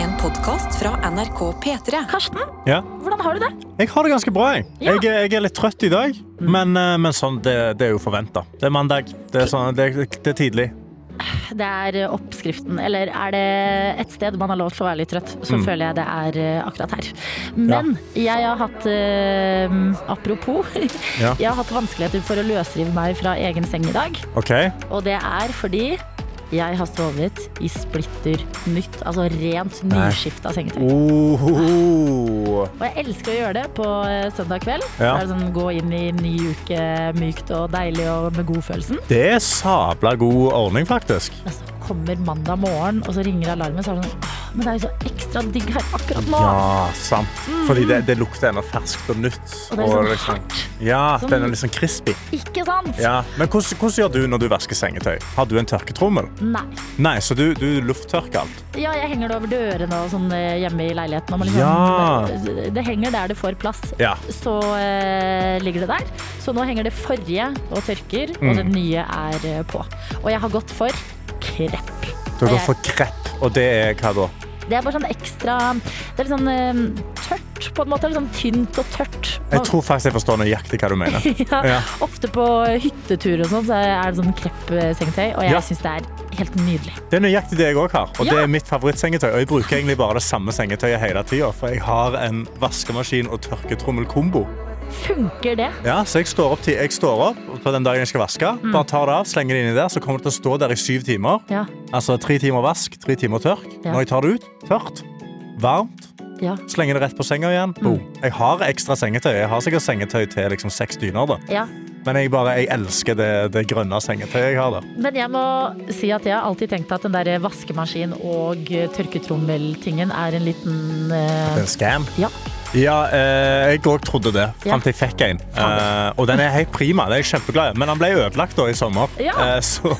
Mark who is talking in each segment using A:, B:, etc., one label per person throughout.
A: En podkast fra NRK P3.
B: Karsten,
C: Ja.
B: hvordan har du det?
C: Jeg har det ganske bra. Jeg,
B: Ja. Mm.
C: jeg, er- jeg er litt trøtt i dag, men, eh, men sånn, det, det er jo forventa. Det er mandag. Det er, sånn, det, det er tidlig.
B: Det er eh, oppskriften. Eller er det et sted man har lov til å være litt trøtt, så
C: Mm.
B: føler jeg det er eh, akkurat her. Men jeg har hatt eh, Apropos.
C: Ja.
B: Jeg har hatt vanskeligheter for å løsrive meg fra egen seng i dag.
C: OK?
B: Og det er fordi jeg har sovet i splitter nytt, altså rent nyskifta sengetøy.
C: Ohoho.
B: Og jeg elsker å gjøre det på eh, søndag kveld.
C: Ja.
B: Det er sånn, gå inn i ny uke mykt og deilig og med godfølelsen.
C: Det er sabla god ordning, faktisk.
B: Men så Altså, kommer mandag morgen, og så ringer alarmen, så er det sånn «Åh, Men det er jo så ekstra digg her akkurat nå.
C: Ja, sant. Fordi det, det lukter ennå ferskt og nytt.
B: Mm. Og det er sånn
C: liksom-
B: hardt.
C: ja,
B: Sånn-
C: den er liksom crispy.
B: Ikke sant?
C: Ja. Men hvordan, hvordan gjør du når du vasker sengetøy? Har du en tørketrommel?
B: Nei.
C: Nei, så du, du lufttørker alt.
B: Ja, jeg henger det over dørene og sånn eh, hjemme i leiligheten. Og man liksom,
C: Ja.
B: det, det henger der det får plass.
C: Ja.
B: Så eh, ligger det der. Så nå henger det forrige og tørker,
C: Mm.
B: og det nye er eh, på. Og jeg har gått for krepp.
C: Du har gått for krepp, og det er hva da?
B: Det er bare sånn ekstra Det er litt sånn eh, tørt, på en måte. Litt sånn tynt og tørt.
C: Jeg tror faktisk jeg forstår nøyaktig hva du mener.
B: Ja.
C: Ja.
B: Ofte på hyttetur og sånn, så er det sånn kreppsengetøy, og jeg
C: Ja.
B: syns det er helt nydelig.
C: Det er nøyaktig det jeg også har. Og
B: Ja.
C: det er mitt favorittsengetøy. Og jeg bruker egentlig bare det samme sengetøyet hele tida. For jeg har en vaskemaskin og tørketrommel-kombo.
B: Funker det?
C: Ja, så jeg står opp, til, jeg står opp på den dagen jeg skal vaske. Bare tar det av, slenger det inni der, så kommer det til å stå der i syv timer.
B: Mm. Ja.
C: Altså tre timer vask, tre timer tørk.
B: Ja.
C: Når jeg tar det ut, tørt, varmt,
B: Ja.
C: slenger det rett på senga igjen.
B: Mm.
C: Boom. Jeg har ekstra sengetøy. Jeg har sikkert sengetøy til liksom seks dyner, da.
B: ja.
C: Men jeg bare, jeg elsker det, det grønne sengetøyet jeg har der.
B: Men jeg må si at jeg har alltid tenkt at den der vaskemaskin og eh, tørketrommeltingen er en liten eh,
C: Det er en scam.
B: Ja.
C: Ja, eh, jeg òg trodde det,
B: Ja.
C: fram til jeg fikk en. Eh, og den er helt prima, det er jeg kjempeglad i. Men den ble ødelagt da i sommer,
B: Ja.
C: eh, så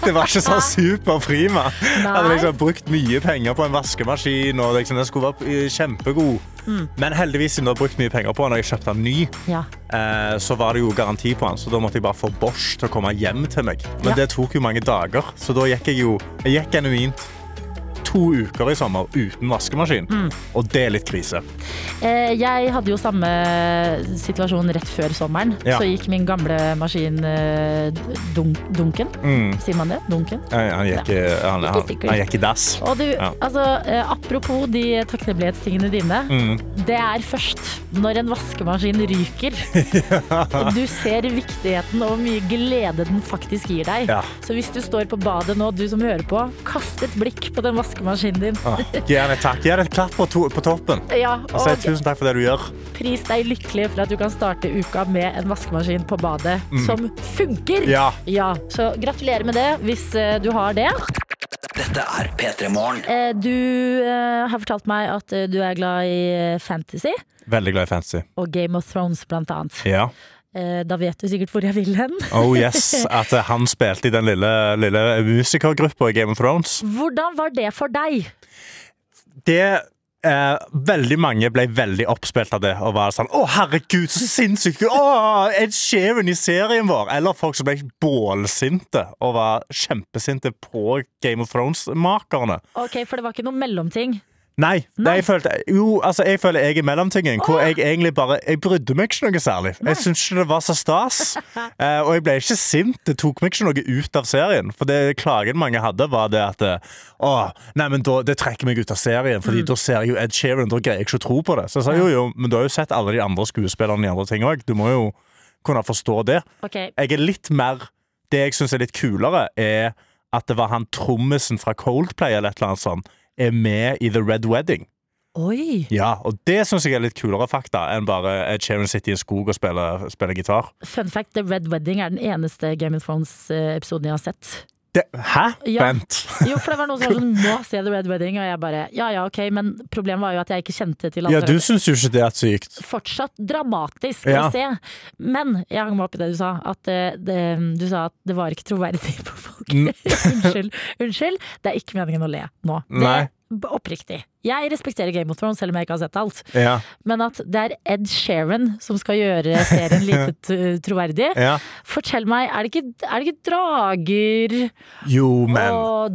C: det var ikke så superprima. Jeg hadde
B: Nei.
C: liksom brukt mye penger på en vaskemaskin, og liksom, den skulle være eh, kjempegod.
B: Mm.
C: Men heldigvis, siden du har brukt mye penger på den, og jeg kjøpte den ny,
B: Ja.
C: eh, så var det jo garanti på den, så da måtte jeg bare få Bosch til å komme hjem til meg. Men
B: Ja.
C: det tok jo mange dager, så da gikk jeg jo jeg gikk genuint to uker i sommer uten vaskemaskin.
B: Mm.
C: Og det er litt krise.
B: Eh, Jeg hadde jo samme situasjon rett før sommeren.
C: Ja.
B: Så gikk min gamle maskin eh, dunk, dunken.
C: Mm.
B: Sier man det? Dunken?
C: Nei, Han gikk, han, han,
B: stikker.
C: han gikk i dass.
B: Og du,
C: Ja.
B: altså, eh, apropos de takknemlighetstingene dine.
C: Mm.
B: Det er først når en vaskemaskin ryker, og du ser viktigheten og hvor mye glede den faktisk gir deg.
C: Ja.
B: Så hvis du står på badet nå, du som hører på, kast et blikk på den vaskemaskinen din.
C: Ah, Gi han et takk. Gi han et klapp på, to, på toppen.
B: Ja,
C: Og si
B: og
C: tusen takk for det du gjør.
B: pris deg lykkelig for at du kan starte uka med en vaskemaskin på badet som funker.
C: Mm. Ja.
B: Ja, så gratulerer med det hvis eh, du har det.
D: Dette er P3 Morgen.
B: Eh, Du eh, har fortalt meg at eh, du er glad i eh, fantasy
C: Veldig glad i fancy.
B: og Game of Thrones blant annet.
C: Ja.
B: Eh, Da vet du sikkert hvor jeg vil hen.
C: Oh yes, at eh, han spilte i den lille, lille musikergruppa i Game of Thrones.
B: Hvordan var det for deg?
C: det eh, Veldig mange ble veldig oppspilt av det og var sånn Å, herregud, så sinnssykt! Å, Ed Sheeran i serien vår! Eller folk som ble bålsinte og var kjempesinte på Game of Thrones-makerne.
B: Ok, For det var ikke noe mellomting.
C: Nei.
B: Nei.
C: Det jeg følte, jo, altså, jeg føler jeg er mellomtingen. Hvor jeg egentlig bare Jeg brydde meg ikke noe særlig. Jeg syntes ikke det var så stas. eh, og jeg ble ikke sint. Det tok meg ikke noe ut av serien. For det klagen mange hadde, var det at eh, Å, nei, men da, det trekker meg ut av serien, Fordi da ser jeg jo Ed Sheeran. Da greier jeg ikke å tro på det. Så jeg sa jo, jo, men du har jo sett alle de andre skuespillerne i andre ting òg. Du må jo kunne forstå det
B: Ok,
C: jeg er litt mer Det jeg syns er litt kulere, er at det var han trommisen fra Coldplay eller et eller annet sånt, er med i The Red Wedding.
B: Oi!
C: Ja, Og det syns jeg er litt kulere fakta enn bare Ed Sheeran sitter i en skog og spiller, spiller gitar.
B: Fun fact, The Red Wedding er den eneste Game of Thrones-episoden jeg har sett.
C: Det, hæ?
B: Ja.
C: Vent.
B: Jo, for det var noen som var sånn Nå ser jeg The Red Wedding, og jeg bare Ja ja, ok, men problemet var jo at jeg ikke kjente til
C: Ja,
B: andre.
C: du syns jo ikke det er sykt.
B: Fortsatt dramatisk
C: Ja.
B: å se. Men jeg hang meg opp i det du sa. At eh, det, du sa at det var ikke troverdig på folk.
C: N-
B: unnskyld. Unnskyld. Det er ikke meningen å le nå. Det
C: Nei.
B: b- oppriktig. Jeg respekterer Game of Thrones, selv om jeg ikke har sett alt.
C: Ja,
B: Men at det er Ed Sheeran som skal gjøre serien lite t- troverdig.
C: ja.
B: Fortell meg, er det ikke, er det ikke drager
C: Jo, men
B: og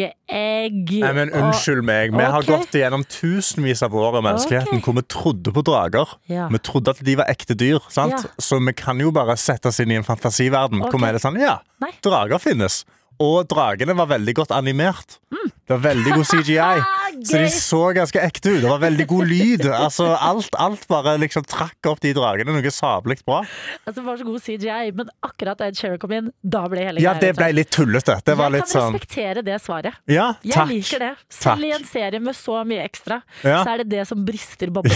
B: drageegg
C: Nei, men
B: og-
C: Unnskyld meg. Vi har
B: Ok.
C: gått igjennom tusenvis av år av menneskeheten
B: Ok.
C: hvor vi trodde på drager.
B: Ja.
C: Vi trodde at de var ekte dyr. sant?
B: Ja.
C: Så vi kan jo bare sette oss inn i en fantasiverden.
B: Ok.
C: Hvor vi er det sånn, ja,
B: Nei.
C: drager finnes. Og dragene var veldig godt animert. Det var veldig god CGI. Så
B: Ah,
C: de
B: Gøy.
C: så ganske ekte ut. Det var veldig god lyd. Altså, alt, alt bare liksom trakk opp de dragene. Noe sabelig bra.
B: Altså, det var så god CGI, men akkurat da Ed Sheeran kom inn, da ble hele
C: Ja,
B: greia
C: det ble
B: ødelagt.
C: litt tullete. Det var litt
B: Jeg kan
C: sånn
B: respektere det svaret.
C: Ja,
B: Jeg
C: takk.
B: liker det. Selv i
C: Takk.
B: en serie med så mye ekstra,
C: Ja.
B: så er det det som brister bobla.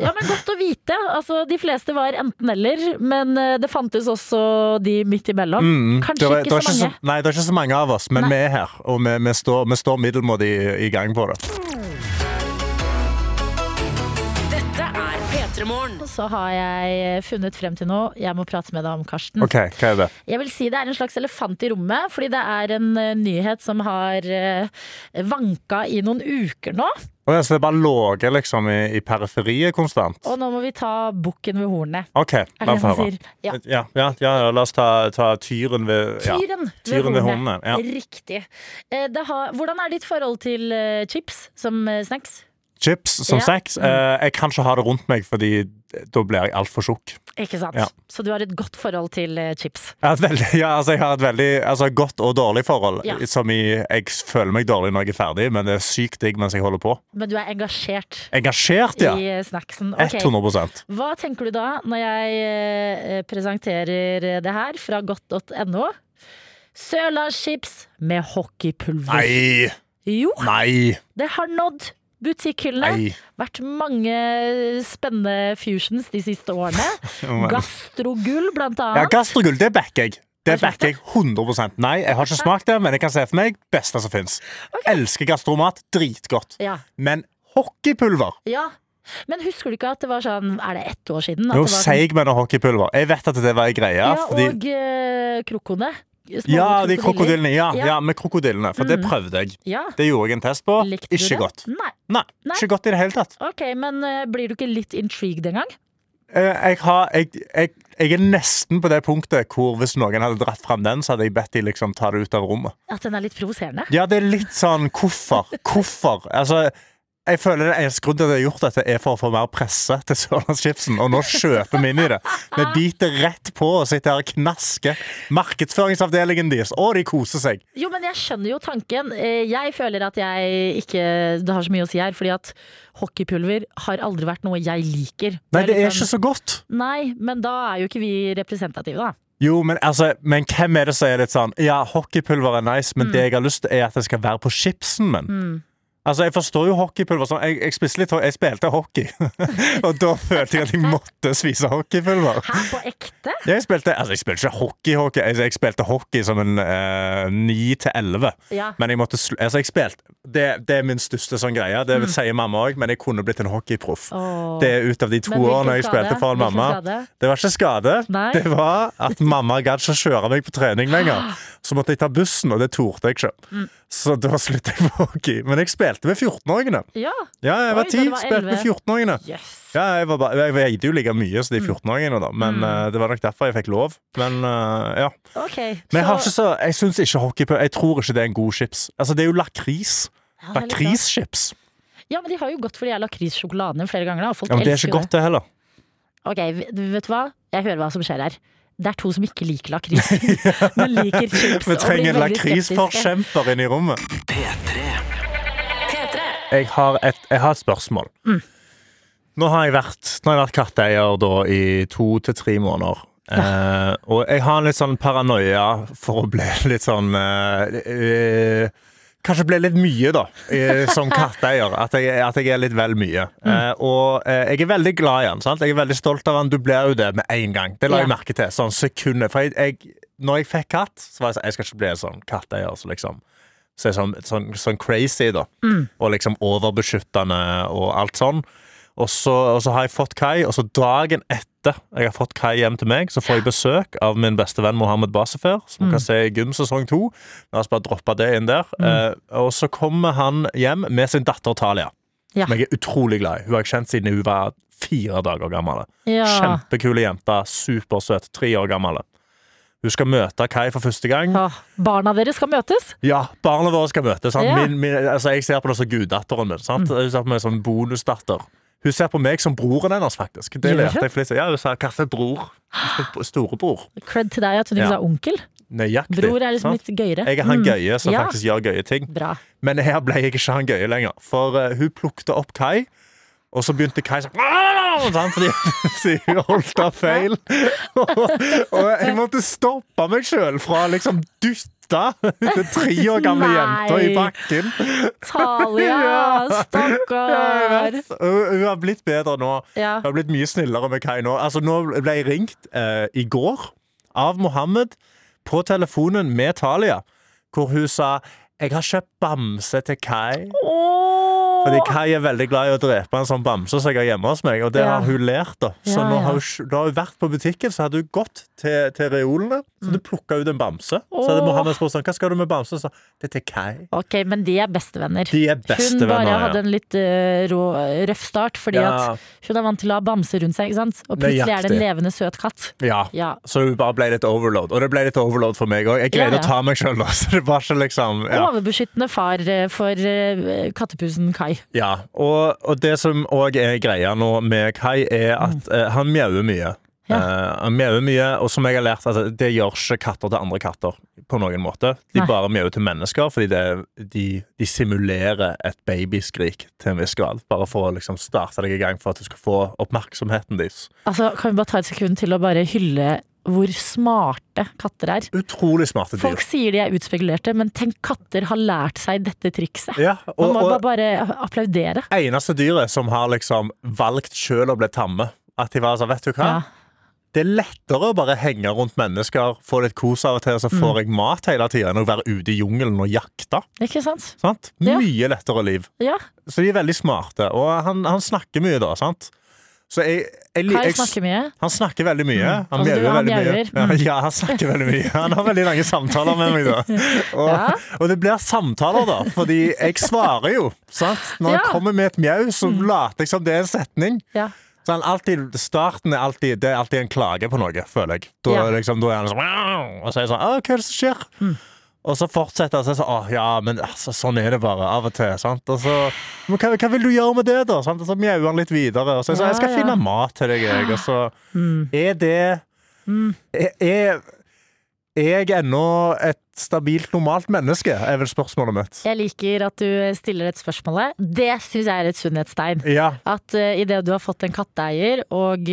B: ja, men godt å vite. Altså, de fleste var enten-eller, men eh, det fantes også de midt imellom. Kanskje
C: Mm, Det var- det
B: ikke
C: var
B: så mange.
C: nei, det er ikke så mange av oss, men vi er her. Og vi, vi, står, vi står middelmådig i, i gang på det.
B: Så har jeg eh, funnet frem til noe jeg må prate med deg om, Karsten.
C: OK, hva er det?
B: Jeg vil si det er en slags elefant i rommet, fordi det er en eh, nyhet som har eh, vanka i noen uker nå.
C: Å ja, så det bare låger liksom i, i periferiet konstant?
B: Og nå må vi ta bukken ved hornet.
C: OK,
B: Er det
C: la
B: det
C: oss
B: man
C: høre.
B: sier? Ja.
C: Ja, ja, ja, la oss ta, ta tyren ved ja.
B: Tyren,
C: Tyren ved
B: hornet.
C: hornet, ja.
B: Riktig. Eh, Det har, hvordan er ditt forhold til eh, chips som eh, snacks?
C: Chips som
B: Ja. Mm.
C: snacks. Eh, jeg kan ikke ha det rundt meg, Fordi da blir jeg altfor tjukk.
B: Ikke sant?
C: Ja.
B: Så du har et godt forhold til eh, chips.
C: Jeg har et veldig, ja, altså jeg har et veldig altså godt og dårlig forhold.
B: Ja.
C: Som i jeg føler meg dårlig når jeg er ferdig, men det er sykt digg mens jeg holder på.
B: Men du er engasjert
C: Engasjert, ja!
B: i eh, snacksen. Ok.
C: 100
B: Hva tenker du da når jeg eh, presenterer det her fra godt.no? Sørlandschips med hockeypulver.
C: Nei!
B: Jo,
C: Nei!
B: det har nådd
C: Nei.
B: butikkhyllene. Vært mange spennende fusions de siste årene. Gastrogull, blant
C: Ja,
B: annet.
C: Gastrogull, det backer jeg. Det
B: Har du smakt
C: backer jeg 100 Nei, jeg har ikke smakt det, men jeg kan se for meg beste som fins. Elsker gastromat. Dritgodt.
B: Ja.
C: Men hockeypulver
B: Ja. Men husker du ikke at det var sånn Er det ett år siden? at
C: Jo,
B: det var sånn?
C: seig med noe hockeypulver. Jeg vet at det var ei greie.
B: Ja,
C: fordi,
B: og eh, krokoene. Små
C: ja, de
B: krokodiller.
C: krokodillene. Ja,
B: Ja.
C: ja, med krokodillene. For det prøvde jeg.
B: Ja.
C: Det gjorde jeg en test på.
B: Likte du
C: Ikke
B: det?
C: godt.
B: Nei.
C: Nei,
B: Nei.
C: ikke godt i det hele tatt.
B: Ok, men eh, blir du ikke litt intrigued engang?
C: Eh, Jeg, har, jeg, jeg, jeg er nesten på det punktet hvor hvis noen hadde dratt fram den, så hadde jeg bedt de liksom ta det ut av rommet.
B: At den er litt provoserende?
C: Ja, det er litt sånn hvorfor? Hvorfor? Altså, jeg føler det eneste grunnen til at jeg har gjort dette, er for å få mer presse til Sørlandschipsen. Og nå kjøper vi inn i det. Vi biter rett på og sitter her og knasker. Markedsføringsavdelingen deres. Å, de koser seg.
B: Jo, men jeg skjønner jo tanken. Eh, Jeg føler at jeg ikke Det har så mye å si her, fordi at hockeypulver har aldri vært noe jeg liker.
C: Nei, det er
B: litt
C: ikke
B: sånn-
C: så godt.
B: Nei, men da er jo ikke vi representative, da.
C: Jo, men, altså, men hvem er det som er litt sånn Ja, hockeypulver er nice, men det jeg har lyst til, er at det skal være på chipsen min. Altså, Jeg forstår jo hockeypulver. Sånn. Jeg, jeg, spiste litt, ho- jeg spilte hockey, og da følte jeg at jeg måtte spise hockeypulver.
B: Her på ekte?
C: Jeg spilte, altså jeg spilte ikke hockey-hockey. Altså jeg spilte hockey som en eh, 9-11.
B: Ja.
C: Men jeg måtte sl altså jeg spilte det, det er min største sånn greie. Det sier mamma òg, men jeg kunne blitt en hockeyproff.
B: Mm. Åh.
C: Det er ut av de to
B: Men hvilken
C: årene jeg
B: skade?
C: spilte foran
B: Hvilken
C: mamma.
B: skade?
C: Det var ikke skade.
B: Nei. Ah.
C: Det var at mamma gadd ikke å kjøre meg på trening lenger. Så måtte jeg ta bussen, og det torde jeg ikke.
B: Mm.
C: Så da sluttet jeg på hockey. Men jeg spilte med 14-åringene.
B: Ja.
C: Ja, jeg
B: Oi,
C: var
B: da
C: 10,
B: du var
C: spilte
B: 11.
C: med 14-åringene.
B: Yes.
C: Ja, jeg, var bare, jeg veide jo like mye
B: Mm.
C: som de 14-åringene, da. Men eh, det var nok derfor jeg fikk lov. Men eh, ja.
B: Ok.
C: Men jeg,
B: så-
C: har ikke så, jeg syns ikke hockeypulver Jeg tror ikke det er en god chips. Altså, det er jo lakris.
B: Ja, Ah, det er litt rart.
C: Lakrischips.
B: Ja, men de har jo gått for de her lakrissjokoladene flere ganger. Da. og Folk
C: Ja, men det er
B: elsker
C: ikke
B: jo
C: godt, det heller.
B: Ok, v- vet du hva? Jeg hører hva som skjer her. Det er to som ikke liker lakris, men liker chips.
C: Vi
B: og blir
C: trenger en
B: veldig skeptiske.
C: lakrisforkjemper inn i rommet.
D: P3.
C: Jeg har et, jeg har et spørsmål. Nå har jeg vært, nå har jeg vært katteeier da, i to til tre måneder. Eh, og jeg har en litt sånn paranoia for å bli litt sånn eh, eh, Kanskje bli litt mye, da, eh, som katteeier. At jeg, at jeg er litt vel mye. Eh, og eh, jeg er veldig glad i han. sant? Jeg er veldig stolt av han. Du blir jo det med en gang. Det la jeg
B: Ja.
C: merke til. sånn sekundet. For jeg, jeg, når jeg fikk katt, så var jeg sånn Jeg skal ikke bli en sånn katteeier. Så liksom
B: Mm.
C: så er sånn, sånn, sånn crazy, da. Og liksom overbeskyttende og alt sånn. Og så, og så har jeg fått Kai, og så dagen etter jeg har fått Kai hjem til meg, så får jeg besøk av min beste venn Mohammed Basefer, som
B: Mm.
C: kan se i Gym sesong to. La oss bare droppe det inn der. Eh, og så kommer han hjem med sin datter Talia,
B: Ja.
C: som jeg er utrolig glad i. Hun har jeg kjent siden hun var fire dager gammel.
B: Ja.
C: Kjempekule jente, supersøt, tre år gammel. Hun skal møte Kai for første gang.
B: Ja, barna deres skal møtes.
C: Ja, barna våre skal møtes. sant?
B: Ja. Mm.
C: Min, min, altså, jeg ser på det som guddatteren min. Sant? Hun ser på meg som bonusdatter. Hun ser på meg som broren hennes, faktisk. Det
B: Gjør
C: lærte
B: hun?
C: jeg for litt siden. Ja, hun sa 'hva er bror'? Storebror.
B: Cred til deg at hun ikke
C: Ja.
B: sa onkel.
C: Nøyaktig.
B: Bror er liksom
C: sant?
B: litt gøyere.
C: Jeg er han
B: Mm.
C: gøye som
B: Ja.
C: faktisk gjør gøye ting.
B: Bra.
C: Men her ble jeg ikke han gøye lenger. For eh, hun plukte opp Kai, og så begynte Kai sånn «Au!» sant? Fordi fordi hun holdt av feil. Og, og jeg måtte stoppe meg sjøl fra å liksom dytte den tre år gamle
B: Nei.
C: jenta i bakken.
B: Talia,
C: Ja. Ja, jeg
B: stakkar.
C: vet. Hun hun har blitt bedre nå.
B: Ja.
C: Hun har blitt mye snillere med Kai nå. Altså, nå ble jeg ringt eh, i går av Mohammed på telefonen med Talia, hvor hun sa jeg har kjøpt bamse til Kai.
B: Åh.
C: Fordi Kai er veldig glad i å drepe en sånn bamse som jeg har hjemme hos meg. Og det
B: Ja.
C: har hun lært da Så
B: Ja,
C: nå
B: ja.
C: har hun, sj- da har hun vært på butikken, så hadde hun gått til, til reolene. Så hadde hun plukka ut en bamse. Så hadde
B: Mm. Åh.
C: Mohammed spurt sånn, hva skal du med bamse. Så sa hun, det er til Kai.
B: Ok, men de er bestevenner.
C: De er
B: Hun bare
C: bestevenner.
B: hadde en litt eh, rå, røff start, fordi
C: Ja.
B: at hun er vant til å ha bamse rundt seg. ikke sant? Og plutselig er det en
C: Nøyaktig.
B: levende søt katt.
C: Ja.
B: Ja.
C: Så det bare ble litt overload. Og det ble litt overload for meg òg. Jeg greide
B: Ja, ja.
C: å ta meg sjøl, da. Så det var ikke liksom ja.
B: Overbeskyttende far eh, for eh, kattepusen Kai.
C: ja. Og, og det som òg er greia nå med Kai, er at eh, han mjauer mye.
B: Mm. Ja.
C: Eh, han mjauer mye, og som jeg har lært, altså, det gjør ikke katter til andre katter på noen måte. De
B: Nei.
C: bare mjauer til mennesker, fordi det, de, de simulerer et babyskrik til en viss grad. Bare for å liksom starte deg i gang for at du skal få oppmerksomheten deres.
B: Altså, Kan vi bare ta et sekund til å bare hylle hvor smarte katter er?
C: Utrolig smarte dyr.
B: Folk sier de er utspekulerte, men tenk katter har lært seg dette trikset.
C: Ja, og,
B: Man må
C: og-
B: da bare applaudere.
C: eneste dyret som har liksom valgt sjøl å bli tamme. At de var sånn, vet du hva?
B: Ja.
C: Det er lettere å bare henge rundt mennesker, få litt kos av og til, og så
B: Mm.
C: får jeg mat hele tida, enn å være ute i jungelen og jakte.
B: Ikke sant?
C: Sant?
B: Ja.
C: Mye lettere liv.
B: Ja.
C: Så de er veldig smarte. Og han, han snakker mye, da. sant? Så jeg, jeg,
B: Kai
C: jeg,
B: snakker mye.
C: han snakker veldig mye. Han
B: Altså, du-
C: mjauer
B: han
C: veldig mye.
B: mjauer.
C: Ja,
B: Mm.
C: ja, han snakker veldig mye. Han har veldig lange samtaler med meg, da. Og,
B: Ja.
C: og det blir samtaler, da, fordi jeg svarer jo. Sant? Når
B: Ja.
C: han kommer med et mjau, så later jeg som det er en setning.
B: Ja.
C: Så han alltid, starten er alltid, det er alltid en klage på noe, føler jeg. Da,
B: Ja. Mm.
C: liksom, da er han sånn «Wow!» Og så er jeg sånn «Å, Hva er det som skjer? Og så fortsetter han sånn Å, ja, men altså, sånn er det bare av og til. Sant? Og så, men hva, hva vil du gjøre med det, da? Sant? Og så mjauer han litt videre. Og så er jeg sånn
B: Ja,
C: Jeg skal
B: ja. Mm.
C: finne mat til deg, jeg. Og så er det er, er er jeg ennå et stabilt, normalt menneske? er vel spørsmålet mitt.
B: Jeg liker at du stiller et spørsmål. Det syns jeg er et sunnhetstegn.
C: Ja.
B: At uh, idet du har fått en katteeier og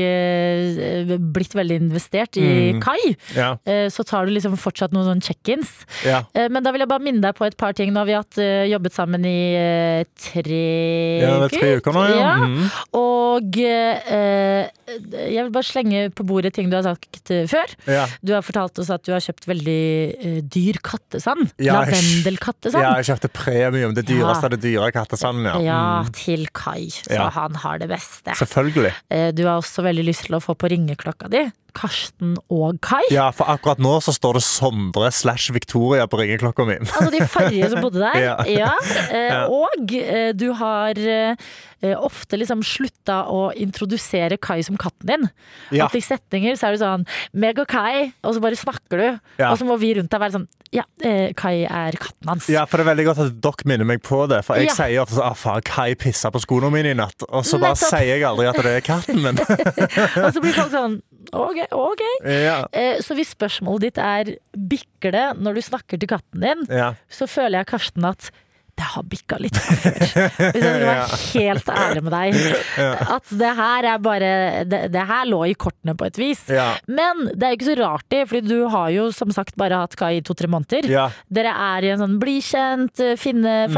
B: eh, blitt veldig investert i
C: Mm.
B: Kai,
C: Ja.
B: eh, så tar du liksom fortsatt noen sånn check-ins.
C: ja.
B: Eh, Men da vil jeg bare minne deg på et par ting. Nå har vi hatt, eh, jobbet sammen i eh, tre
C: Ja, det er tre uker nå, ja.
B: Ja.
C: Mhm.
B: Og eh, jeg vil bare slenge på bordet ting du har sagt eh, før.
C: ja.
B: Du har fortalt oss at du har kjøpt veldig eh, dyr kattesand.
C: Ja, jeg-
B: Lavendelkattesand.
C: ja, jeg kjøpte premium. Det
B: Ja.
C: dyreste av det dyre kattesanden, ja.
B: Ja, til Kai, så
C: Mm. Ja.
B: han har det beste.
C: Selvfølgelig.
B: Eh, Du har også veldig lyst til å få på ringeklokka di. Karsten og Kai.
C: Ja, for akkurat nå så står det Sondre slash Victoria på ringeklokka mi.
B: Altså de forrige som bodde der. Ja.
C: Ja.
B: eh, Og eh, du har eh, ofte liksom slutta å introdusere Kai som katten din.
C: Ja.
B: At I setninger så er du sånn 'meg og Kai', og så bare snakker du.
C: Ja.
B: Og så må vi rundt deg være sånn 'ja, eh, Kai er katten hans'.
C: Ja, for det er veldig godt at dere minner meg på det, for jeg
B: Ja.
C: sier ofte sånn ah, faen, Kai pissa på skoene mine i natt, og så bare
B: Nettopp.
C: sier jeg aldri at det er katten min.
B: Og så blir folk sånn 'ok, ok'.
C: ja.
B: Eh, Så hvis spørsmålet ditt er 'bikker det' når du snakker til katten din,
C: Ja.
B: så føler jeg Karsten at det har bikka litt fra før. Hvis jeg skulle være helt ærlig med deg. At det her er bare Det, det her lå i kortene på et vis.
C: Ja.
B: Men det er jo ikke så rart, det, Fordi du har jo som sagt bare hatt Kai i to-tre måneder.
C: Ja. Mm.
B: Dere er i en sånn bli kjent, finne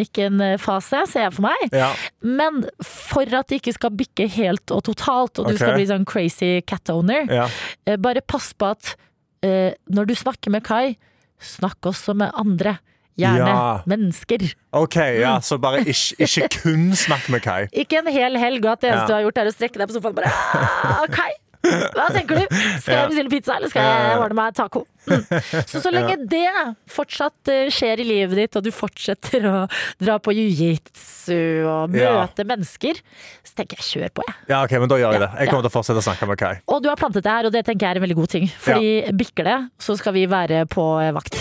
B: familiedynamikken-fase, ser jeg for meg.
C: Ja.
B: Men for at det ikke skal bikke helt og totalt, og du
C: Ok.
B: skal bli sånn crazy cat owner,
C: Ja.
B: Eh, Bare pass på at eh, når du snakker med Kai, snakk også med andre. Gjerne.
C: Ja.
B: Mennesker.
C: OK, ja, så bare ikke, ikke kun snakk med Kai.
B: Ikke en hel helg, og at det eneste
C: Ja.
B: du har gjort, er å strekke deg på sofaen og bare «Ah, OK, hva tenker du? Skal
C: Ja.
B: jeg bestille pizza, eller skal
C: Ja, ja,
B: jeg
C: ja.
B: ordne meg taco? Mm. Så så lenge det fortsatt eh, skjer i livet ditt, og du fortsetter å dra på jiu-jitsu og
C: Ja.
B: møte mennesker, så tenker jeg kjør på, jeg.
C: Ja, ok, men da gjør jeg det. Jeg kommer til å fortsette å snakke med Kai.
B: Og du har plantet det her, og det tenker jeg er en veldig god ting. Fordi bikker det, så skal vi være på vakt.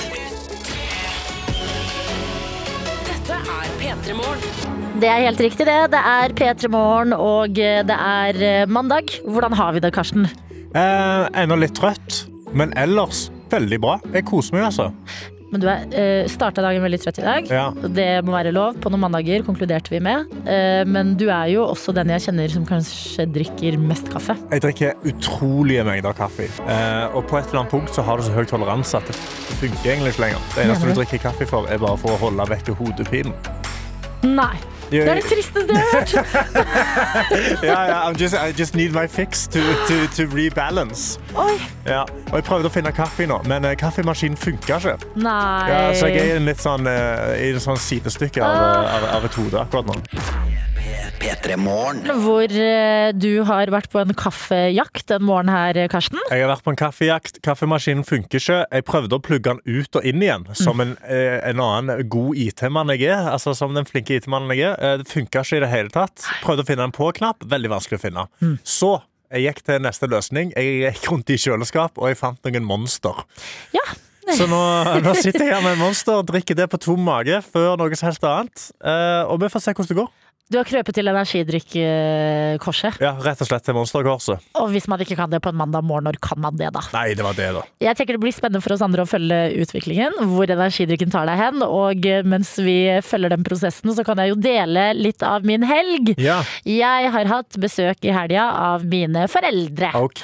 A: Dette er P3 Morgen.
B: Det er helt riktig, det. Det er P3 Morgen, og eh, det er eh, mandag. Hvordan har vi det, Karsten?
C: Eh, ennå litt trøtt, men ellers veldig bra. Jeg koser meg, altså.
B: Men du er, eh, starta dagen veldig trøtt i dag.
C: Ja.
B: Det må være lov. På noen mandager konkluderte vi med. Eh, men du er jo også den jeg kjenner som kanskje drikker mest kaffe.
C: Jeg drikker utrolige mengder kaffe. Eh, og på et eller annet punkt så har du så høy toleranse at det funker egentlig ikke lenger. Det eneste
B: Mener
C: du
B: du?
C: drikker kaffe for, er bare for å holde vekk hodepinen.
B: Nei. Det er det tristeste jeg har hørt!
C: Ja, ja, I'm just, I just need my fix to, to, to rebalance.
B: Oi.
C: Ja. Og jeg prøvde å finne kaffe nå, men eh, kaffemaskinen funka ikke.
B: Nei.
C: Ja, så jeg er i en litt sånn, eh, i et sånn sidestykke av,
B: Ah.
C: av, av et hode akkurat nå.
D: P3 Morgen.
B: Hvor eh, du har vært på en kaffejakt en morgen her, eh, Karsten.
C: Jeg har vært på en kaffejakt. Kaffemaskinen funker ikke. Jeg prøvde å plugge den ut og inn igjen, som en, eh, en annen god IT-mann jeg er. Altså som den flinke IT-mannen jeg er. Eh, Det funka ikke i det hele tatt. Prøvde å finne en på-knapp. Veldig vanskelig å finne. Så jeg gikk til neste løsning. Jeg gikk rundt i kjøleskap, og jeg fant noen monster.
B: Ja.
C: Så nå, nå sitter jeg her med en monster og drikker det på tom mage før noe som helst annet. Eh, og vi får se hvordan det går.
B: Du har krøpet til energidrikkekorset.
C: Ja, Rett og slett til monsterkorset.
B: Og hvis man ikke kan det på en mandag morgen, når kan man det, da?
C: Nei, det var det, da.
B: Jeg tenker Det blir spennende for oss andre å følge utviklingen, hvor energidrikken tar deg hen. Og eh, mens vi følger den prosessen, så kan jeg jo dele litt av min helg.
C: Ja,
B: Jeg har hatt besøk i helga av mine foreldre.
C: OK.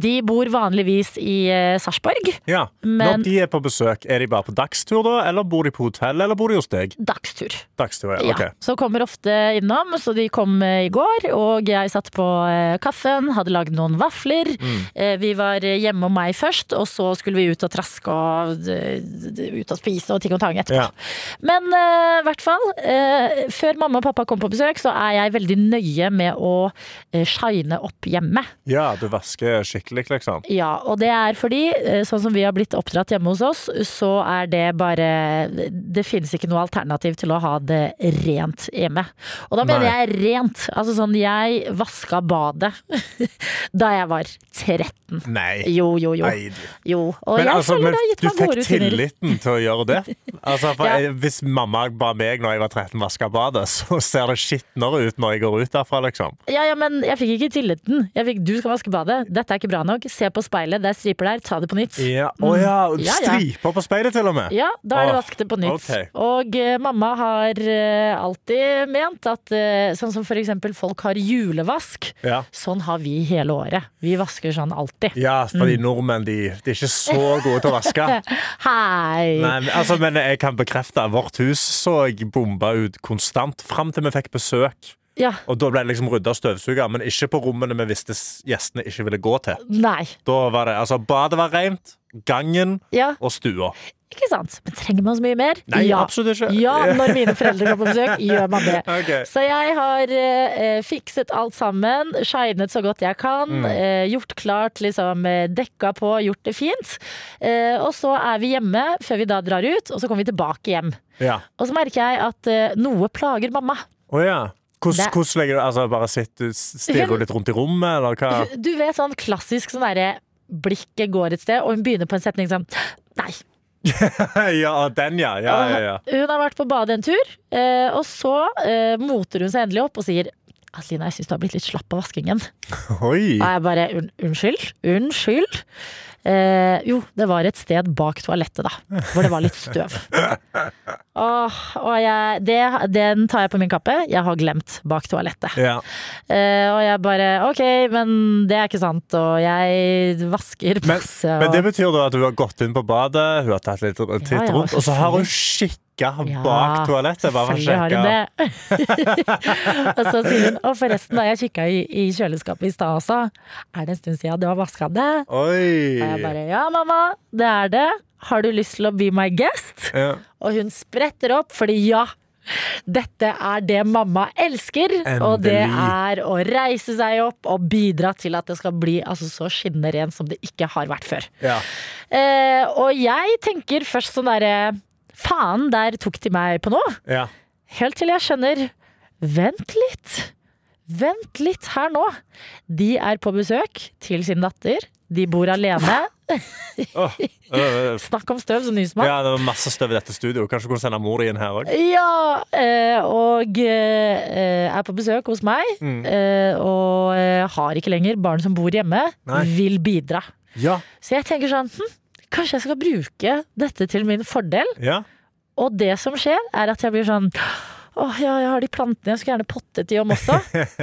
B: De bor vanligvis i eh, Sarpsborg.
C: Ja.
B: Men-
C: Når de er på besøk, er de bare på dagstur da, eller bor de på hotell, eller bor de hos deg?
B: Dagstur.
C: Dagstur, ja.
B: Ja,
C: ok.
B: Så kommer ofte innom, så de kom eh, i går, og jeg satt på eh, kaffen, hadde lagd noen vafler.
C: Mm.
B: Eh, Vi var eh, hjemme om meg først, og så skulle vi ut og traske og eh, d- d- ut og spise og ting og tang etterpå.
C: Ja.
B: Men eh, i hvert fall, eh, før mamma og pappa kom på besøk, så er jeg veldig nøye med å eh, shine opp hjemme.
C: Ja, du vasker skikkelig, liksom.
B: Ja, og det er fordi, eh, sånn som vi har blitt oppdratt hjemme hos oss, så er det bare Det finnes ikke noe alternativ til å ha det rent hjemme. Og da mener
C: Nei.
B: jeg rent. Altså sånn, jeg vaska badet da jeg var 13.
C: Nei.
B: Jo, jo, jo.
C: Nei.
B: jo. Og
C: Men,
B: jeg
C: altså,
B: føler
C: men
B: det har gitt
C: du
B: meg
C: fikk
B: gode rutiner.
C: tilliten til å gjøre det. Altså, for
B: Ja.
C: jeg, hvis mamma ba meg når jeg var 13 vaske badet, så ser det skitnere ut når jeg går ut derfra, liksom.
B: Ja, ja, men jeg fikk ikke tilliten. Jeg fikk 'du skal vaske badet', 'dette er ikke bra nok', 'se på speilet', det er striper der, ta det på nytt'.
C: Ja. Å ja,
B: Mm. Ja, ja.
C: striper på speilet til og med.
B: Ja, da er det
C: Åh,
B: vasket på nytt.
C: ok.
B: Og eh, mamma har eh, alltid ment at eh, sånn som for eksempel folk har julevask,
C: Ja.
B: sånn har vi hele året. Vi vasker sånn alltid.
C: Ja, fordi
B: Mm.
C: nordmenn, de, de er ikke så gode til å vaske.
B: Hei!
C: Nei, men, altså, men jeg kan bekrefte at vårt hus så jeg bomba ut konstant fram til vi fikk besøk.
B: Ja,
C: Og da ble det liksom rydda og støvsuga, men ikke på rommene vi visste s- gjestene ikke ville gå til.
B: nei.
C: Da var det, altså Badet var rent, gangen
B: Ja,
C: og stua.
B: ikke sant? Men trenger man så mye mer?
C: Nei,
B: ja.
C: absolutt ikke.
B: Ja, når mine foreldre kommer på besøk, gjør man det.
C: Ok.
B: Så jeg har eh, fikset alt sammen, shinet så godt jeg kan,
C: Mm.
B: eh, gjort klart, liksom eh, dekka på, gjort det fint. Eh, og så er vi hjemme før vi da drar ut, og så kommer vi tilbake hjem.
C: Ja.
B: Og så merker jeg at eh, noe plager mamma.
C: Å ja. Hvordan,
B: Det-
C: hvordan legger du altså Bare sitter, stirrer du litt rundt i rommet, eller hva?
B: Du vet sånn klassisk sånn derre blikket går et sted, og hun begynner på en setning sånn Nei.
C: ja, den, ja. Ja, ja, ja.
B: Hun har vært på badet en tur, eh, og så eh, moter hun seg endelig opp og sier Adelina, jeg syns du har blitt litt slapp av vaskingen.
C: Oi.
B: Og jeg bare un unnskyld, unnskyld. Eh, jo, det var et sted bak toalettet, da, hvor det var litt støv. Åh, og jeg, det, den tar jeg på min kappe. Jeg har glemt bak toalettet.
C: Ja.
B: Eh, og jeg bare OK, men det er ikke sant, og jeg vasker
C: Men,
B: masse.
C: men
B: og-
C: det betyr da at hun har gått inn på badet, hun har tatt litt titt
B: Ja, ja,
C: rundt, og så har hun kikka
B: Ja,
C: bak toalettet. Bare for å
B: selvfølgelig har
C: sjekke.
B: hun det. og så sier hun Og forresten, da jeg kikka i, i kjøleskapet i stad også, er det en stund siden du har vaska det?
C: Oi!
B: Og jeg bare ja, mamma, det er det. har du lyst til å be my guest?
C: Ja.
B: Og hun spretter opp, fordi ja, dette er det mamma elsker. Og det er å reise seg opp og bidra til at det skal bli altså, så skinnende rent som det ikke har vært før.
C: Ja.
B: Eh, og jeg tenker først sånn derre Faen, der tok de meg på nå.
C: Ja.
B: Helt til jeg skjønner Vent litt. Vent litt her nå. De er på besøk til sin datter. De bor alene.
C: Åh, øh,
B: Snakk om støv som nysmann.
C: ja, det var masse støv i dette studioet. Kanskje du kunne sende mor di inn her òg?
B: Ja, eh, og eh, er på besøk hos meg.
C: Mm.
B: eh, Og eh, har ikke lenger barn som bor hjemme.
C: Nei.
B: Vil bidra.
C: Ja.
B: Så jeg tenker sånn hm, Kanskje jeg skal bruke dette til min fordel.
C: ja.
B: Og det som skjer, er at jeg blir sånn Åh, ja, jeg har de plantene. Jeg skulle gjerne pottet de om også.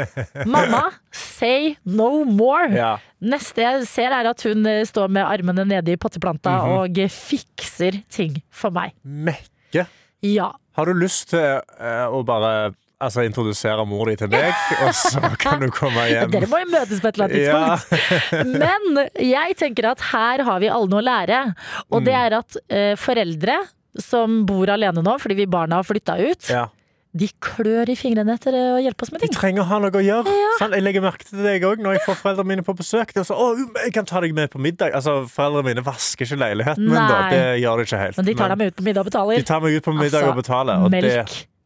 B: Mamma, say no more.
C: Ja.
B: Neste jeg ser, er at hun eh, står med armene nede i potteplanta
C: Mhm.
B: og eh, fikser ting for meg.
C: Mekke.
B: Ja.
C: Har du lyst til eh, å bare altså, introdusere mor di til deg, og så kan du komme hjem?
B: Dere må jo møtes på et eller annet tidspunkt. Men jeg tenker at her har vi alle noe å lære. Og det
C: Mm.
B: er at eh, foreldre som bor alene nå fordi vi barna har flytta ut,
C: Ja.
B: de klør i fingrene etter å hjelpe oss med
C: De
B: ting.
C: trenger å ha noe å gjøre. Sant? Jeg legger merke til deg òg når jeg får foreldrene mine på besøk. Det er sånn, å, jeg kan ta deg med på middag Altså, Foreldrene mine vasker ikke leiligheten min, da.
B: Nei.
C: Det gjør de ikke helt.
B: Men de tar deg med ut på middag og betaler.
C: de tar meg ut på middag
B: Altså,
C: og betaler. Og
B: melk.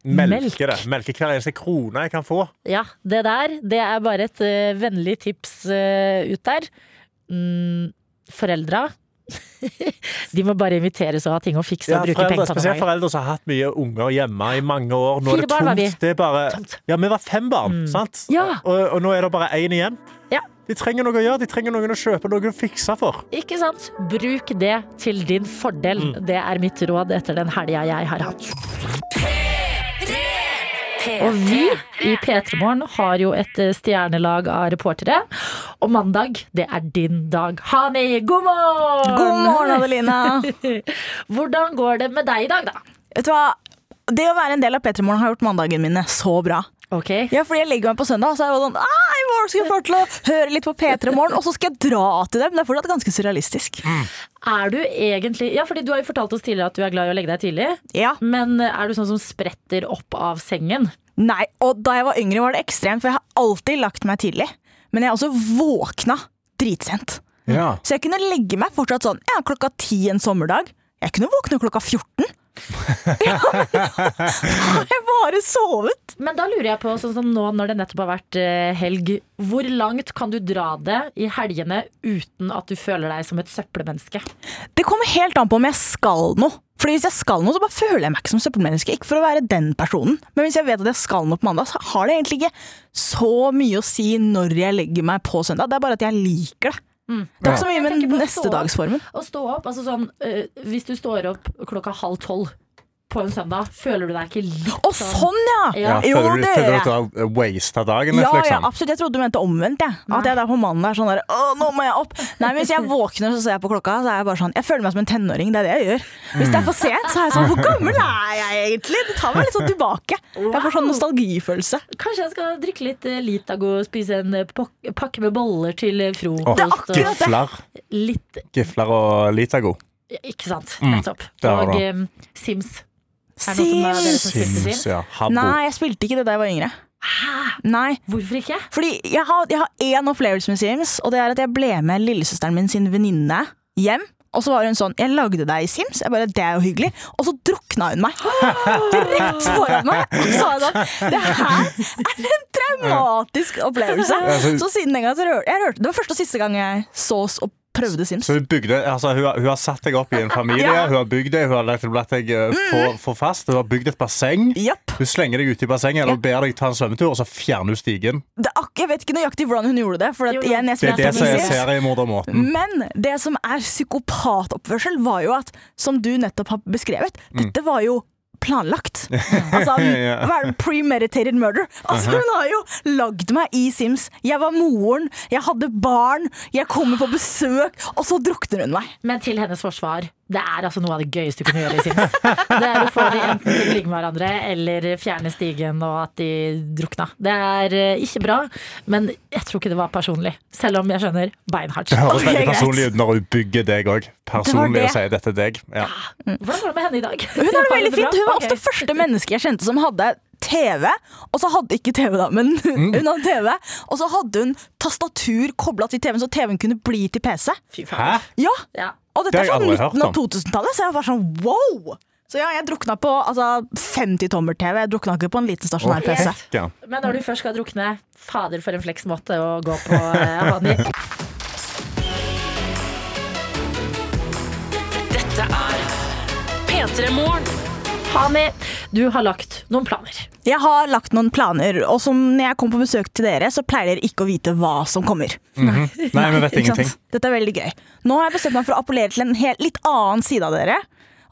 C: Det, melker
B: Melk.
C: det. Melker hver eneste krone jeg kan få.
B: Ja, det der, det er bare et eh, vennlig tips eh, ut der. Mm, foreldra. de må bare inviteres og ha ting å fikse
C: Ja,
B: og bruke
C: foreldre,
B: penger på. noen
C: spesielt
B: ganger.
C: foreldre som har hatt mye unger hjemme i mange år. Nå er
B: Fire
C: det
B: barn var vi.
C: tomt. Det er bare,
B: Tomt.
C: ja, vi var fem barn, sant?
B: Ja.
C: Og, og nå er det bare én igjen.
B: Ja.
C: De trenger noe å gjøre, de trenger noen å kjøpe, noen å fikse for.
B: Ikke sant? Bruk det til din fordel. Det er mitt råd etter den helga jeg har hatt. Og vi i P3 Morgen har jo et eh, stjernelag av reportere. Og mandag, det er din dag. Hani, god morgen!
E: God morgen, Adelina.
B: Hvordan går det med deg i dag, da?
E: Vet du hva? Det å være en del av Petremorgen har gjort mandagene mine så bra.
B: Ok.
E: Ja, fordi jeg legger meg på søndag, og så er jeg sånn «Ah, I morgen skal jeg få lov til å høre litt på P3morgen, og så skal jeg dra til dem. Det er fortsatt ganske surrealistisk.
B: Er du egentlig Ja, fordi du har jo fortalt oss tidligere at du er glad i å legge deg tidlig.
E: Ja.
B: Men eh, er du sånn som spretter opp av sengen?
E: Nei, og da jeg var yngre, var det ekstremt, for jeg har alltid lagt meg tidlig. Men jeg har også våkna dritsent.
C: Ja.
E: Så jeg kunne legge meg fortsatt sånn ja, klokka ti en sommerdag. Jeg kunne våkne klokka 14. Ja, men da har jeg bare sovet.
B: Men da lurer jeg på, sånn som nå når det nettopp har vært eh, helg, hvor langt kan du dra det i helgene uten at du føler deg som et søppelmenneske?
E: Det kommer helt an på om jeg skal noe. Fordi hvis jeg skal noe, så bare føler jeg meg ikke som søppelmenneske. Ikke for å være den personen, men hvis jeg vet at jeg skal noe på mandag, så har det egentlig ikke så mye å si når jeg legger meg på søndag. Det er bare at jeg liker det. Det er ikke så mye
B: Mm. Jeg tenker på å stå
E: med neste
B: opp.
E: dagsformen.
B: Å stå opp, altså sånn, eh, hvis du står opp klokka halv tolv på en søndag, føler du deg ikke litt
E: Å, sånn, ja!
B: Ja.
E: Jo,
C: føler du,
E: det
C: føler du
E: gjør
C: at du
E: jeg.
C: har wasta dagen litt,
E: Ja, ja,
C: liksom?
E: absolutt. Jeg trodde du mente omvendt. Jeg. At jeg da på mandag er sånn der Å, nå må jeg opp! Nei, men Hvis jeg våkner så ser jeg på klokka, så er jeg bare sånn Jeg føler meg som en tenåring. Det er det jeg gjør. Hvis det er for sent, så er jeg sånn Hvor gammel er jeg egentlig? Det tar meg litt sånn tilbake. Jeg får sånn nostalgifølelse.
B: Kanskje jeg skal drikke litt eh, Litago, spise en eh, pok- pakke med boller til eh,
C: Åh,
B: frokost.
E: Det er akkurat
B: og
E: det.
C: Gifler,
B: litt
C: gifler og Litago.
B: Ikke sant? Nettopp.
C: det
B: Og
C: har du.
B: eh, Sims. Er det noen som er-
E: Sims!
C: Sims, ja. Habbo.
E: Nei, jeg spilte ikke det da jeg var yngre. Nei,
B: Hvorfor ikke?
E: fordi jeg har, jeg har én opplevelse med Sims, og det er at jeg ble med lillesøsteren min sin venninne hjem. Og så var hun sånn 'Jeg lagde deg i Sims.' Jeg bare, Det er jo hyggelig. Og så drukna hun meg! Rett foran meg! Og så sa jeg sånn Det her er en traumatisk opplevelse.
C: så-
E: Så siden den gang så rørte jeg rørte Det var første og siste gang jeg så oss og prøvde Sims.
C: Så hun, bygde, altså, hun, har, hun har satt deg opp i en familie,
E: Ja. Mm.
C: hun har bygd deg, hun har latt latt deg eh, få, få fast, hun har bygd et basseng.
E: Japp.
C: Hun slenger deg ut i bassenget eller ber deg ta en svømmetur, og så fjerner hun stigen.
E: Det er ak- Jeg vet ikke nøyaktig hvordan hun gjorde det. For at,
B: Jo, jo.
E: igjen, jeg
C: Det
E: spilte
C: er det
E: ikke
C: som er
E: Sims.
C: seriemordermåten.
E: Men det som er psykopatoppførsel, var jo at, som du nettopp har beskrevet, dette var jo planlagt. Altså,
C: Ja.
E: hva er det? premeditated murder. Altså, hun har jo lagd meg i Sims. Jeg var moren, jeg hadde barn, jeg kommer på besøk, og så drukner hun meg.
B: Men til hennes forsvar, Det er altså noe av det gøyeste du kan gjøre i Sims. Det er å få de enten til å ligge med hverandre eller fjerne stigen og at de drukna. Det er eh, ikke bra, men jeg tror ikke det var personlig. Selv om jeg skjønner beinhardt.
C: Det høres
E: Ok,
C: veldig
E: greit.
C: personlig ut når hun bygger deg òg. Personlig
E: det.
C: å si dette er deg. Ja.
B: Hvordan går det med henne i dag?
E: Hun har det veldig fint. Hun var
B: Ok.
E: ofte første menneske jeg kjente som hadde TV. Og så hadde ikke TV, da, men hun hadde TV. Og så hadde hun tastatur kobla til TV-en, så TV-en kunne bli til PC.
B: Fy
E: Ah,
B: faen.
C: Hæ?
E: Ja,
B: Ja.
E: Og
C: Det
E: dette
C: har jeg
E: er sånn
C: aldri hørt
E: midten av
C: om.
E: 2000-tallet, så jeg var sånn wow! Så ja, jeg drukna på altså, 50-tommer-TV. Jeg drukna ikke på en liten stasjonær PC.
B: Yes.
C: Ja.
B: Men når du først skal drukne, fader for en fleks måte å gå på, eh, Hani.
A: Dette er P3 Morgen.
B: Hani, du har lagt noen planer.
E: Jeg har lagt noen planer, og som når jeg kommer på besøk til dere, så pleier dere ikke å vite hva som kommer.
C: Nei, vi vet
E: Ikke sant?
C: ingenting.
E: Dette er veldig gøy. Nå har jeg bestemt meg for å appellere til en helt, litt annen side av dere.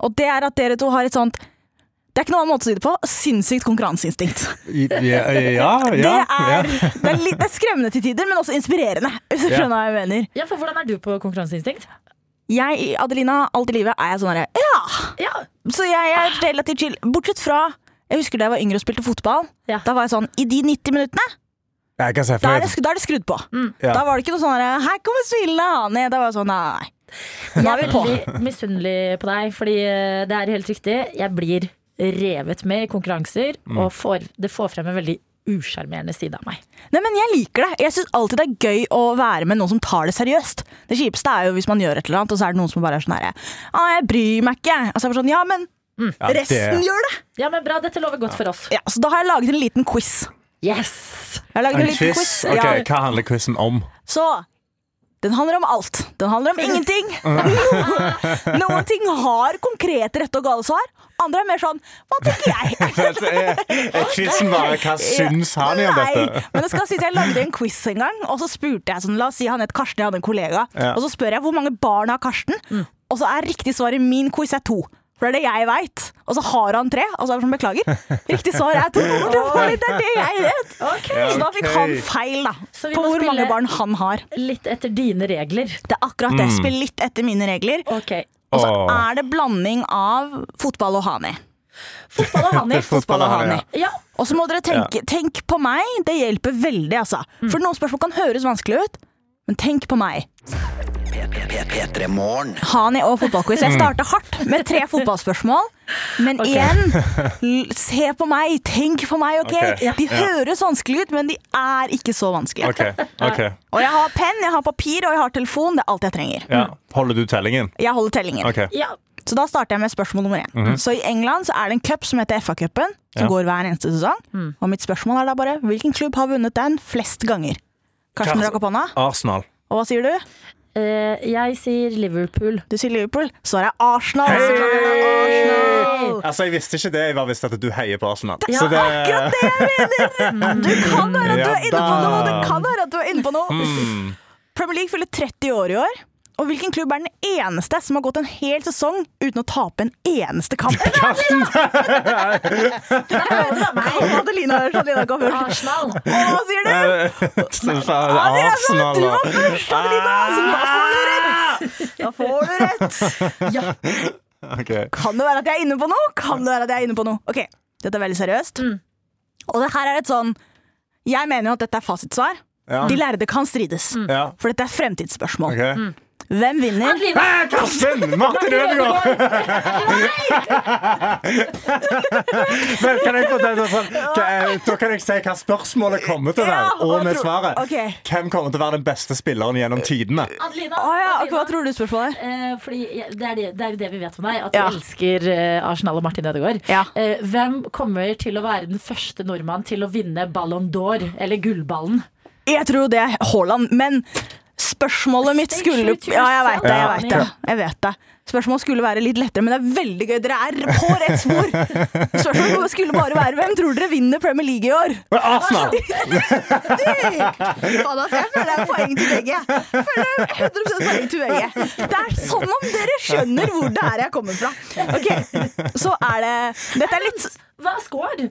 E: Og det er at dere to har et sånt Det er ikke noen annen måte å si det på. Sinnssykt konkurranseinstinkt.
C: I- Ja, ja,
E: det,
C: ja, ja.
E: er, det, er litt, det er skremmende til tider, men også inspirerende. Hvis du
C: Ja.
E: skjønner hva jeg mener.
B: Ja, for hvordan er du på konkurranseinstinkt?
E: Jeg, Adelina, alt i livet er jeg sånn herre Ja!
B: Ja,
E: Så jeg er relativt chill. Bortsett fra jeg husker da jeg var yngre og spilte fotball.
B: Ja.
E: Da var jeg sånn I de 90 minuttene,
C: Jeg kan se
E: da
C: for
E: er det,
C: meg
E: sk- da er det skrudd på.
B: Mm.
C: Ja.
E: Da var det ikke noe sånn herre Her kommer Sville Hane! Da var jeg sånn Nei. Nå er vi på.
B: Jeg er veldig misunnelig på deg, fordi eh, det er helt riktig. Jeg blir revet med i konkurranser, og får, det får frem en veldig usjarmerende side av meg.
E: Nei, men jeg liker det. Jeg syns alltid det er gøy å være med noen som tar det seriøst. Det kjipeste er jo hvis man gjør et eller annet, og så er det noen som bare er sånn herre Ja, jeg bryr meg ikke. Og så er jeg bare sånn Ja, men
C: Ja, det-
E: resten gjør det!
B: Ja, men bra, dette lover godt for oss.
E: Ja, Så da har jeg laget en liten quiz.
B: Yes!
E: Jeg har laget en,
C: En
E: liten
C: quiz?
E: quiz.
C: Ok,
E: Ja.
C: Hva handler quizen om?
E: Så den handler om alt. Den handler om ingenting. Noen ting har konkrete rette og gale svar. Andre er mer sånn Hva tenker jeg?
C: Altså, Er quizen bare 'hva syns han om
E: Nei,
C: dette'?
E: men det skal sies jeg lagde en quiz en gang, og så spurte jeg sånn La oss si han het Karsten, jeg hadde en kollega.
C: Ja.
E: Og så spør jeg hvor mange barn har Karsten,
B: Mm.
E: og så er riktig svar i min quiz er to. For det er det jeg veit. Og så har han tre. Og så er det sånn, beklager. Riktig svar er to. Men Det var litt- det er det jeg vet.
C: Ja,
E: Så da fikk
C: ok.
E: han feil, da.
B: Så vi
E: på
B: må
E: hvor mange
B: spille-
E: barn han har.
B: Litt etter dine regler.
E: Det er akkurat det. Spill litt etter mine regler.
B: Ok.
E: Og så
C: Åh.
E: er det blanding av fotball og hani.
B: Fotball og Hani.
C: Fotball og Hani,
B: Ja,
E: Og så må dere tenke Tenk på meg, det hjelper veldig, altså. For noen spørsmål kan høres vanskelig ut, men tenk på meg.
D: P3 Morgen.
E: Hani og fotballquiz. Jeg starta hardt med tre fotballspørsmål, men igjen l- Se på meg, tenk på meg, OK?
C: Ok, ja.
E: De
C: Ja.
E: høres vanskelig ut, men de er ikke så vanskelige.
C: OK. ok
E: Og jeg har penn, jeg har papir og jeg har telefon. Det er alt jeg trenger.
C: ja. Holder du tellingen?
E: Jeg holder tellingen.
C: OK.
B: ja.
E: Så da starter jeg med spørsmål nummer én. Så i England så er det en cup som heter FA-cupen, som
C: Ja.
E: går hver eneste sesong. Og mitt spørsmål er da bare hvilken klubb har vunnet den flest ganger? Karsten
C: Karsten.
E: rakk opp hånda,
C: Arsenal.
E: og hva sier du?
B: Eh, jeg sier Liverpool.
E: Du sier Liverpool. Svaret er Arsenal. Så klart det er Arsenal.
C: Altså, Jeg visste ikke det. Jeg bare visste at du heier på Arsenal.
B: Ja,
C: Så det,
E: Akkurat det jeg mener! Du kan være at du er
C: Ja da.
E: inne på
C: Mm.
E: noe! Det kan være at du er inne på noe. Premier League fyller 30 år i år. Og hvilken klubb er den eneste som har gått en hel sesong uten å tape en eneste kamp?
C: Karsten,
E: Adelina, Adelina kom først.
B: Arsenal.
E: Og hva sier du?
C: Så sa jeg
E: Ja, det er sånn
C: Arsenal,
E: at du
C: da. Ah!
E: har bursdag, Lina! Så da får du rett! Da får du rett!
C: Ok.
E: Kan det være at jeg er inne på noe? Kan det være at jeg er inne på noe? Ok, dette er veldig seriøst. Og det her er et sånn Jeg mener jo at dette er fasitsvar.
C: Ja.
E: De lærde kan strides.
C: Ja.
E: For dette er fremtidsspørsmål.
C: Ok.
E: Hvem vinner?
B: Adeline.
C: Ah, Karsten! Martin Ødegaard! Men kan jeg få den sånn, hva- Da kan jeg si hva spørsmålet kommer til å være,
E: Ja,
C: og
E: hva
C: med
E: tror-
C: svaret.
E: ok.
C: Hvem kommer til å være den beste spilleren gjennom tidene?
B: Adelina.
E: Å ja, ok,
B: Adelina.
E: hva tror du spørsmålet er?
B: Eh, fordi jeg- det er det, det er jo det vi vet om deg, at
E: Ja.
B: du elsker eh, Arsenal og Martin Ødegaard.
E: Ja.
B: Eh, hvem kommer til å være den første nordmann til å vinne Ballon d'Or, eller Gullballen?
E: Jeg tror jo det er Haaland, men spørsmålet mitt
B: Stay
E: skulle
B: true to
E: Ja, jeg vet det. jeg
C: yourself,
E: vet det,
C: Annie.
E: jeg vet det. Spørsmålet skulle være litt lettere, men det er veldig gøy. Dere er på rett spor! Spørsmålet skulle bare være hvem tror dere vinner Premier League i år?
C: Men Arsenal!
E: Faen, altså, jeg føler det er poeng til begge. Jeg føler det er 100 poeng til begge. Det er sånn om dere skjønner hvor det er jeg kommer fra. Ok, så er det Dette er litt
B: Hva er score?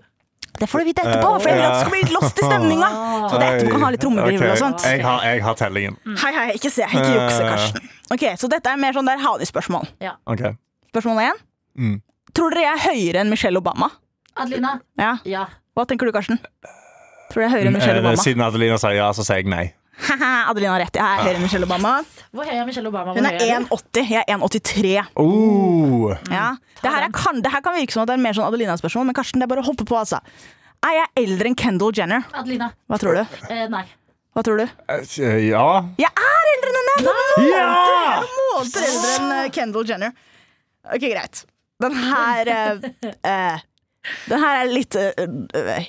E: Det får du vite etterpå, for jeg vil at det skal bli litt lost i stemninga. Så det etterpå kan ha litt trommevirvel og sånt.
C: Ok, Eh. Jeg har, jeg har tellingen.
E: Hei, hei, ikke se. Ikke jukse, Karsten. Ok, Så dette er mer sånn der ha spørsmål
C: Ok.
E: Spørsmål én.
C: Mm.
E: Tror dere jeg er høyere enn Michelle Obama?
B: Adelina?
E: Ja.
B: Ja.
E: Hva tenker du, Karsten? Tror du jeg er høyere enn Michelle
C: Eh,
E: Obama?
C: Siden Adelina sier ja, så sier jeg nei.
E: Haha, Adelina har rett. Jeg er høyere enn Michelle Obama.
B: Hvor høy er Michelle Obama? Hvor
E: Hun
B: høy
E: er 1,80. Jeg er 1,83.
C: Oh.
E: Ja. Det, her er, kan, det her kan virke som at det er mer sånn Adelina-spørsmål, men Karsten, det er bare å hoppe på, altså. Er jeg eldre enn Kendall Jenner?
B: Adelina?
E: Hva tror du?
B: Eh, nei.
E: Hva tror du?
C: Eh, Ja.
E: Jeg er eldre enn henne!
C: Ja!
E: måneder eldre enn eh, Kendall Jenner. Ok, greit. Den her eh, eh, Den her er litt eh, eh,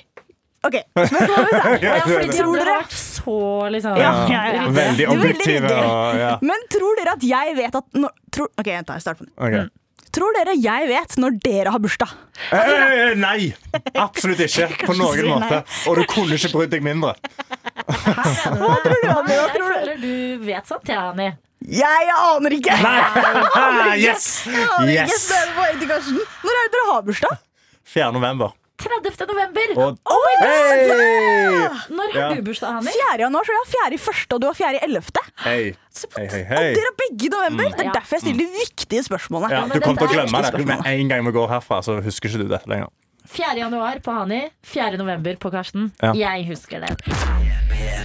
E: OK. Men så må vi ta-
B: Ja, fordi de
E: Tror
B: andre
E: dere-
B: har vært så liksom
E: Ja, ja, ja.
C: Veldig
E: Du er veldig
C: objektiv.
E: ryddig.
C: og- Ja.
E: Men tror dere at jeg vet at når, tror, Ok, vent da, jeg starter på den.
C: Ok.
E: Tror dere jeg vet når dere har bursdag?
C: Eh, nei! Absolutt ikke. På
E: sier
C: noen
E: nei.
C: måte. Og du kunne ikke brydd deg mindre.
B: Hva tror du,
E: Adelina?
B: Jeg
E: Tror du-
B: føler du vet sant, jeg, Annie.
E: Jeg aner ikke!
C: Nei! Ah, Yes!
E: Jeg aner ikke,
C: Yes!
E: så det er poeng til Karsten. Når er det dere har bursdag?
C: 4. november.
B: 30. november!
C: Og
E: Hey!
B: Når
C: Ja.
B: har du bursdag, Annie?
E: 4. januar, så er det fjerde i første, og du har fjerde i ellevte.
C: Hei. Hei, hei, hei.
E: Og dere er begge i november. Det er
B: Ja.
E: derfor jeg stiller de viktige spørsmålene.
C: Ja,
B: men
C: du
B: det
C: kommer til å
B: der-
C: glemme det med en gang vi går herfra. Så husker ikke du dette lenger.
B: 4. januar på Hani, 4. november på Karsten.
C: Ja.
B: Jeg husker det.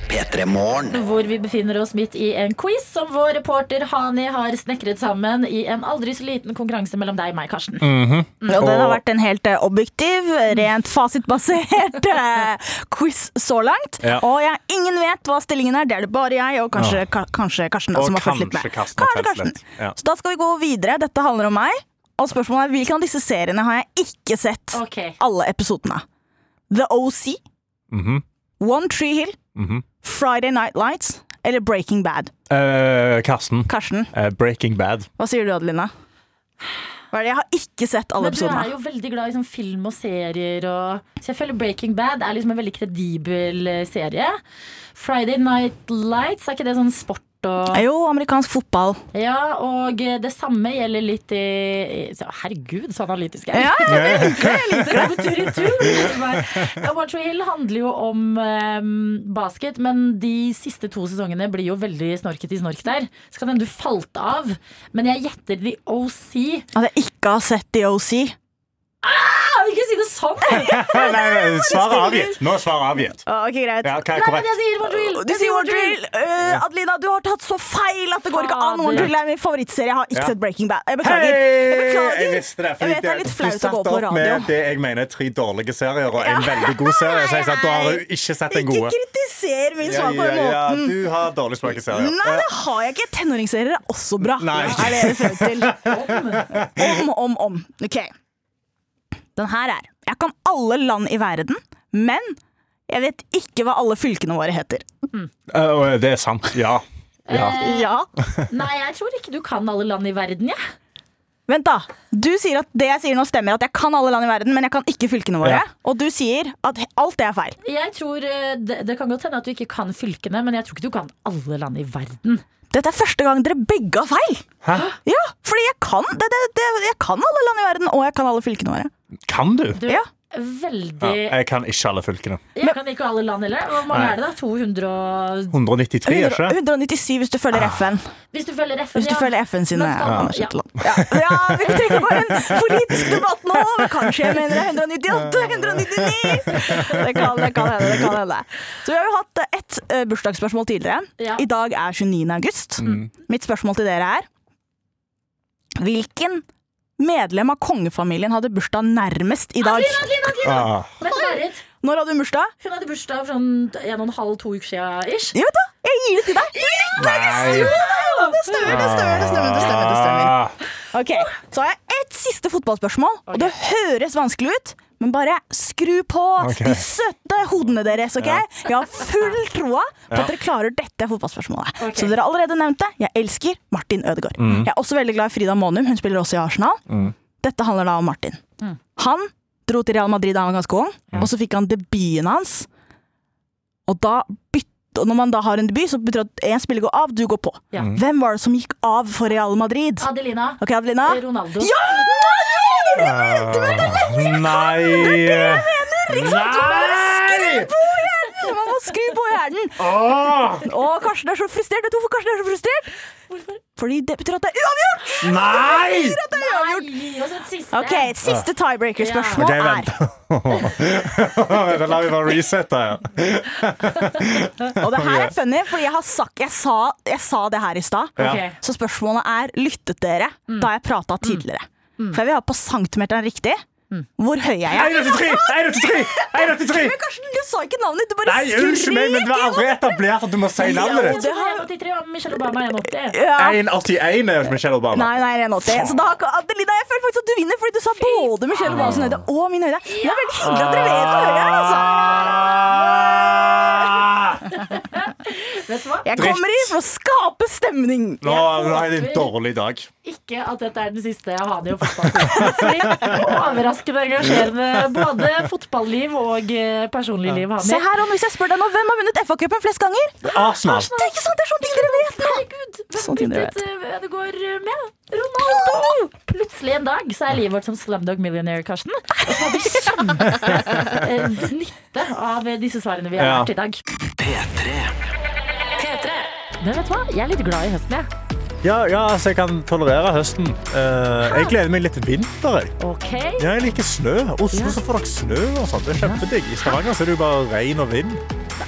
D: P3 Morgen.
B: Hvor vi befinner oss midt i en quiz som vår reporter Hani har snekret sammen i en aldri så liten konkurranse mellom deg, meg, Karsten.
C: Mm.
E: Mm. Og den har
C: Og-
E: vært en helt eh, objektiv, rent fasitbasert eh, quiz så langt.
C: Ja.
E: Og jeg, ingen vet hva stillingen er, det er det bare jeg og kanskje, ka, kanskje Karsten. Da,
C: Og
E: som har fulgt litt
C: kanskje
E: med.
C: Karsten har fulgt
E: Kanskje Karsten.
C: litt, ja.
E: Så da skal vi gå videre. Dette handler om meg. Og spørsmålet er hvilken av disse seriene har jeg ikke sett
B: Ok.
E: alle episodene av? The OC,
C: Mhm,
E: One Tree Hill,
C: mhm.
E: Friday Night Lights eller Breaking Bad?
C: Eh, Karsten.
E: Karsten,
C: eh, Breaking Bad.
E: hva sier du, Adelina? Hva er det? Jeg har ikke sett alle
B: Men du er
E: episodene.
B: jo veldig glad i sånn film og serier. Og så jeg føler Breaking Bad er liksom en veldig kredibel eh, serie. Friday Night Lights, er ikke det sånn sport og
E: Jo, amerikansk fotball.
B: Ja, og eh, det samme gjelder litt i i- så- Herregud, så analytisk jeg er.
E: Ja,
B: Det går tur i tur. Ja, One Tree Hill handler jo om eh, basket, men de siste to sesongene blir jo veldig snorket i snork der. Skal den du falt av. Men jeg gjetter The OC.
E: At jeg ikke har sett The OC.
B: Kan ikke si det sånn!
C: Nei, nei, nei, Svaret er avgitt. Nå er svaret avgitt.
E: Ah, ok, greit.
C: Ja, hva er
B: Nei, men
C: korrekt?
B: jeg sier One Tree Hill.
E: Du
B: Jeg
E: sier
B: sier
E: One Drill. Eh, Adelina, du har tatt så feil at det går ikke an.
B: Fader.
E: One Drill er min favorittserie. Jeg har ikke
C: Ja.
E: sett Breaking Bad. Jeg
C: Hei!
E: beklager. Jeg beklager.
C: Jeg visste det.
E: Jeg
C: fordi
E: vet det er litt
C: du
E: flaut å
C: satte
E: gå på
C: opp
E: radio.
C: med det jeg mener er tre dårlige serier og en veldig god serie. Så jeg sa, da har du ikke sett den
E: Ikke
C: gode.
E: kritiser min
C: Ja,
E: svar på den
C: ja, ja,
E: måten.
C: du har dårlig smak i serier.
E: Nei, det har jeg ikke. Tenåringsserier er også bra.
C: Nei.
E: Er det jeg frem til. Om, om, om. Ok. Den her er Jeg kan alle land i verden, men jeg vet ikke hva alle fylkene våre heter.
C: Eh, og det er sant. Ja. ja.
E: Ja.
B: Nei, jeg tror ikke du kan alle land i verden, jeg.
E: Vent da, du sier at det jeg sier nå stemmer At jeg kan alle land i verden, men jeg kan ikke fylkene våre
C: Ja.
E: Og du sier at he- alt det er feil
B: Jeg tror eh, det, det kan godt hende at du ikke kan fylkene, men jeg tror ikke du kan alle land i verden.
E: Dette er første gang dere begge har feil
C: Hæ?
E: Ja, fordi jeg kan, det, det, det, jeg kan alle land i verden Og jeg kan alle fylkene våre
C: Kan du?
B: Du,
E: Ja.
C: Ja,
B: veldig
C: jeg kan ikke alle fylkene.
B: Jeg kan ikke alle land heller. Hvor mange
C: Nei.
B: er det, da? 200 og
C: 193, er ikke det? Ah.
E: 197 hvis du følger FN
B: Hvis du følger FN,
E: Hvis du
B: ja.
E: følger FN sine
B: Men skal man- ja.
E: anerkjente land ja. ja, vi trenger bare en politisk debatt nå men Kanskje jeg mener det er 198, 199 Det kan, det kan hende, det kan hende Så vi har jo hatt eh, ett eh, bursdagsspørsmål tidligere
B: Ja.
E: I dag er 29. august. Mitt spørsmål til dere er Hvilken medlem av kongefamilien hadde bursdag nærmest i dag?
B: Adeline, Adeline,
C: Ah.
B: Vet du hva, Marit?
E: Når hadde hun bursdag?
B: Hun hadde bursdag for sånn en og en halv, to uker siden ish.
E: Jeg vet da, jeg gir det til deg!
C: Nei.
E: Det stemmer, det stemmer, det stemmer, det stemmer, det stemmer.
C: Ah.
E: Ok, Så har jeg ett siste fotballspørsmål, og det høres vanskelig ut. Men bare skru på
C: Ok.
E: de søte hodene deres. ok? Jeg har full troa på at dere klarer dette fotballspørsmålet.
B: Ok.
E: Som dere allerede nevnte, jeg elsker Martin Ødegaard. Jeg er også veldig glad i Frida Månum. Hun spiller også i Arsenal. Dette handler da om Martin.
B: Mm.
E: Han dro til Real Madrid da han var ganske ung, og så fikk han debuten hans. Og da bytte, og når man da har en debut, så betyr det at én spiller går av, du går på.
B: Ja.
E: Hvem var det som gikk av for Real Madrid?
B: Adelina.
E: Ok, Adelina?
C: Ah,
B: Ronaldo.
E: Ja!
C: Nei Nei!
E: Man må skru på hjernen!
C: Åh!
E: Å, Karsten er så frustrert! Vet du hvorfor Karsten er så frustrert? Fordi det betyr at det er uavgjort!
C: Nei!
B: Gi oss et siste.
E: Ok, et Siste tiebreaker-spørsmål
C: Ah. Ok, vent.
E: er
C: Da lar vi bare resette her.
E: Og det her er funny, fordi jeg, har sagt, jeg, sa, jeg sa det her i stad.
C: Ja.
E: Så spørsmålet er lyttet dere da jeg prata tidligere. For jeg vil ha på centimeteren riktig. Hvor høy er jeg?
C: 183! 183! 183!
E: Karsten, du sa ikke navnet ditt! Du bare
C: Nei, unnskyld meg, men det var
E: gjennom-
C: aldri etablert at du må si
B: altså,
C: navnet ditt.
E: det har-
B: 183 og Michelle Obama 180.
E: Ja.
C: 181 er jo Michelle Obama.
E: Nei, nei, 1,80. Så da, Adelina, jeg føler faktisk at du vinner, fordi du sa både Michelle Obams høyde og min høyde. Det er veldig hyggelig at dere vet hvor høy jeg er, altså.
C: Ah!
B: Vet du hva?
E: Jeg
C: Dritt.
E: kommer i for å skape stemning.
C: Nå nå har jeg en dårlig dag.
B: Ikke at dette er den siste jeg har det i fotballquizen. Overraskende engasjerende både fotballiv og eh, personlig liv har
E: Se
B: med.
E: her, Anne, hvis jeg spør deg nå, Hvem har vunnet FA-cupen flest ganger?
C: Arsenal.
E: Det er ikke sant, det er sånne ting dere vet!
B: Herregud,
E: Sånn
B: hvem
E: ting dere
B: byttet eh, Ødegaard med? Ronaldo! Plutselig en dag så er livet vårt som Slamdog Millionaire, Karsten. Og så har vi kjempenytte av eh, disse svarene vi har
C: Ja.
B: lært i dag.
D: P3
A: P3.
B: Men vet du hva? Jeg er litt glad i høsten, jeg.
C: Ja, ja, altså, jeg kan tolerere høsten. Eh, jeg gleder meg litt til vinter. Jeg.
B: Ok?
C: Ja, jeg liker snø. Oslo så får dere snø. og sånt. Det er kjempedigg. I Stavanger så er det jo bare regn og vind.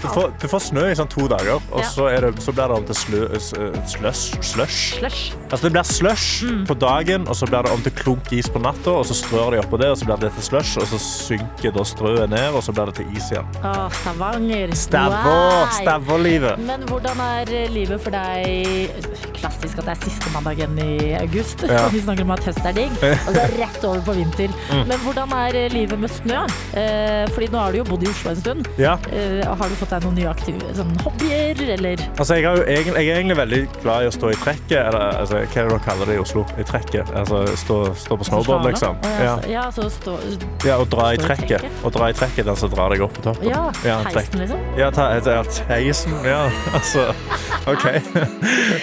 C: Du får, du får snø i sånn to dager, og
B: Ja.
C: så, er det, så blir det om til slø, s- eh, slush. slush.
B: Slush.
C: Altså, det blir slush på dagen, og så blir det om til klunk is på natta. og Så strør de oppå det, og så blir det til slush, og så synker da strøet ned, og så blir det til is igjen.
B: Å, Stavanger.
C: Stavå,
B: Wow.
C: stavålivet.
B: Men hvordan er livet for deg? Klassisk at det er siste mandagen i august.
C: Ja. Mm.
B: og Vi snakker om at høst er digg, og så rett over på vinter. Men hvordan er livet med snø? Eh, Fordi nå har du jo bodd i Oslo en stund.
C: Ja.
B: Eh, Har du fått deg noen nye aktive sånn hobbyer, eller?
C: Altså, jeg, har jo egent- jeg er egentlig veldig glad i å stå i trekket. Eller altså, hva er det dere kaller det i Oslo? I trekket. Altså, stå, stå på snowboard, liksom.
B: Å,
C: Ja.
B: Ja, så- ja, så stå...
C: ja, og dra i
B: Stå i
C: trekket.
B: trekket.
C: Og dra i trekket den som drar deg opp på toppen.
B: Ja,
C: en trekk.
B: heisen liksom.
C: Ja, ta, ta, ta, heisen. Ja, altså OK.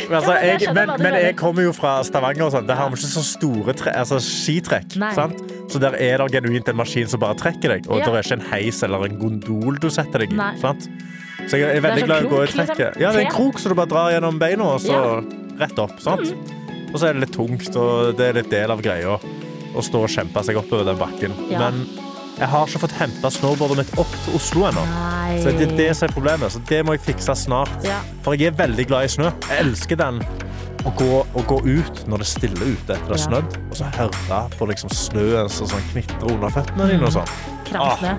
C: Men, altså,
B: Ja, men jeg
C: jeg,
B: skjønner
C: men,
B: hva du
C: men
B: mener.
C: jeg kommer jo fra Stavanger, og sånn. Der har vi ikke så store tre, altså, skitrekk.
B: Nei.
C: Sant? Så der er det genuint en maskin som bare trekker deg. Og
B: Ja.
C: det er ikke en heis eller en gondol du setter deg i.
B: Nei.
C: Sant? Så jeg er veldig
B: sånn
C: glad i å gå i
B: krok, liksom.
C: trekket. Ja, det er en
B: Tre.
C: krok som du bare drar gjennom beina, og så
B: Ja. Mm.
C: rett opp. Sant? Og så er det litt tungt, og det er litt del av greia å stå og kjempe seg oppover den bakken.
B: Ja.
C: Men jeg har ikke fått henta snowboardet mitt opp til Oslo ennå.
B: Nei.
C: Så det er det som er problemet. Så det må jeg fikse snart.
B: Ja.
C: For jeg er veldig glad i snø. Jeg elsker den. Å gå, å gå ut når det er stille ute etter det har
B: Ja.
C: snødd, og så høre på liksom snøen som sånn knitrer under føttene dine. og sånn.
B: Kramsnø.
C: Ah.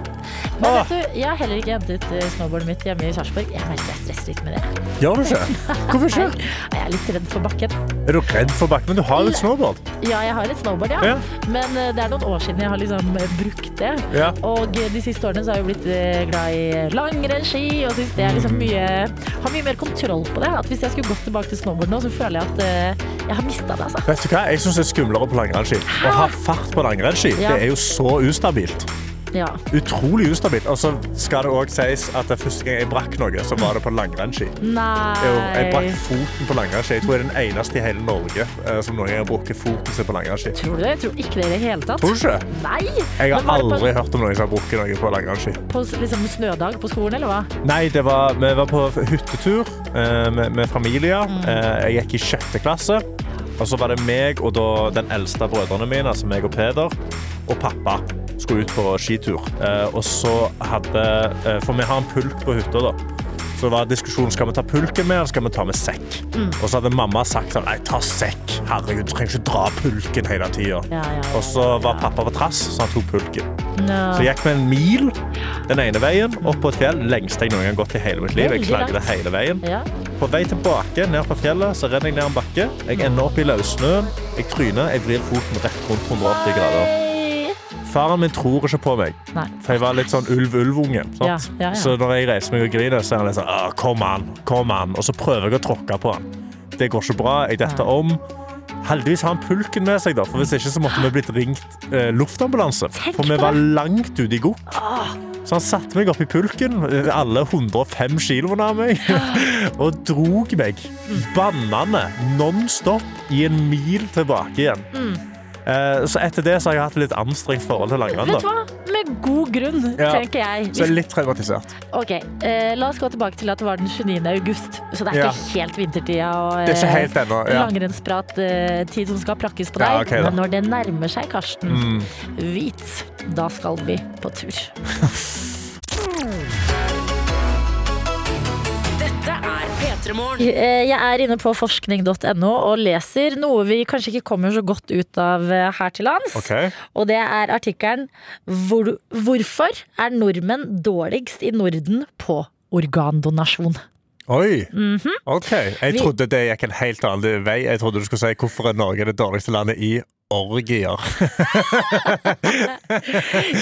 B: Men
C: Ah.
B: vet du, jeg har heller ikke hentet eh, snowboardet mitt hjemme i Sarpsborg. Jeg merker jeg stresser litt med det.
C: Gjør du ikke? Hvorfor ikke?
B: Jeg, jeg er litt redd for bakken.
C: Er du redd for bakken? Men du har jo et snowboard.
B: Ja, jeg har et snowboard, ja.
C: Ja.
B: Men eh, det er noen år siden jeg har liksom eh, brukt det.
C: Ja.
B: Og eh, de siste årene så har jeg jo blitt eh, glad i langrennsski og syns det er
C: Mhm.
B: liksom mye Har mye mer kontroll på det. At hvis jeg skulle gått tilbake til snowboard nå, så føler jeg at eh, jeg har mista det, altså.
C: Vet du hva? Jeg syns det er skumlere på langrennsski. Å ha fart på langrennsski
B: Ja.
C: det er jo så ustabilt.
B: Ja.
C: Utrolig ustabilt. Og så skal det òg sies at det første gang jeg brakk noe, så var det på langrennsski. Jo, jeg brakk
B: Nei
C: foten på langrennsski. Jeg tror jeg er den eneste i hele Norge eh, som noen gang har brukket foten sin på langrennsski.
B: Tror du det? Jeg tror ikke det i det hele tatt.
C: Tror du ikke?
B: Nei!
C: Jeg
B: Men
C: har
B: var det
C: aldri hørt om noen som har brukket noe på langrennsski.
B: På, på liksom, snødag på skolen, eller hva?
C: Nei, det var, vi var på hyttetur eh, med, med familier.
B: Mm.
C: Eh, jeg gikk i sjette klasse. Og så var det meg og da, den eldste av brødrene mine, altså meg og Peder, og pappa skulle ut på skitur. Eh, og så hadde eh, For vi har en pulk på hytta, da. Så det var diskusjon skal vi ta pulken med, eller skal vi ta med sekk.
B: Mm.
C: Og så hadde mamma sagt sånn, nei, ta sekk. Herregud, du trenger ikke dra pulken hele tida.
B: Ja, ja, ja,
C: Og så var pappa på trass, så han tok pulken.
B: No.
C: Så jeg gikk med en mil den ene veien, opp på et fjell. Lengste jeg noen gang har gått i hele mitt liv. Jeg klagde hele veien.
B: Ja.
C: På vei tilbake ned på fjellet, så renner jeg ned en bakke. Jeg ender opp i løssnøen. Jeg tryner. Jeg vrir foten rett rundt 180 grader.
B: Hei.
C: Faren min tror ikke på meg.
B: Nei.
C: For jeg var litt sånn ulv-ulv-unge. sant?
B: Ja, ja, ja.
C: Så når jeg reiser meg og griner, så er han litt sånn «Åh, Kom an, kom an. Og så prøver jeg å tråkke på han. Det går ikke bra. Jeg detter om. Heldigvis har han pulken med seg, da, for hvis ikke så måtte vi blitt ringt eh, luftambulanse.
B: Tenk
C: For vi
B: på
C: var langt ute i gokk. Så han satte meg opp i pulken, eh, alle 105 kiloene av meg, og drog
B: Mm.
C: meg bannende non-stop i en mil tilbake igjen. Eh, så etter det så har jeg hatt litt anstrengt forhold til langrenn.
B: Vet du
C: da.
B: hva? Med god grunn,
C: Ja.
B: tenker jeg.
C: Så
B: Vi-
C: jeg er litt traumatisert.
B: Ok, eh, La oss gå tilbake til at det var den 29. august. Så det er
C: Ja.
B: ikke helt vintertida og
C: Det er ikke
B: eh,
C: helt ennå, ja.
B: langrennsprattid som skal plakkes på deg.
C: Ja, ok da. Mm.
B: Men når det nærmer seg, Karsten, vit, da skal vi på tur.
A: Dette er P3 Morgen.
B: Eh, Jeg er inne på forskning.no og leser noe vi kanskje ikke kommer så godt ut av eh, her til lands.
C: Ok.
B: Og det er artikkelen hvor, 'Hvorfor er nordmenn dårligst i Norden på organdonasjon'?
C: Oi. OK. Jeg
B: Vi-
C: trodde det gikk en helt annen vei. Jeg trodde du skulle si hvorfor er Norge det dårligste landet i orgier.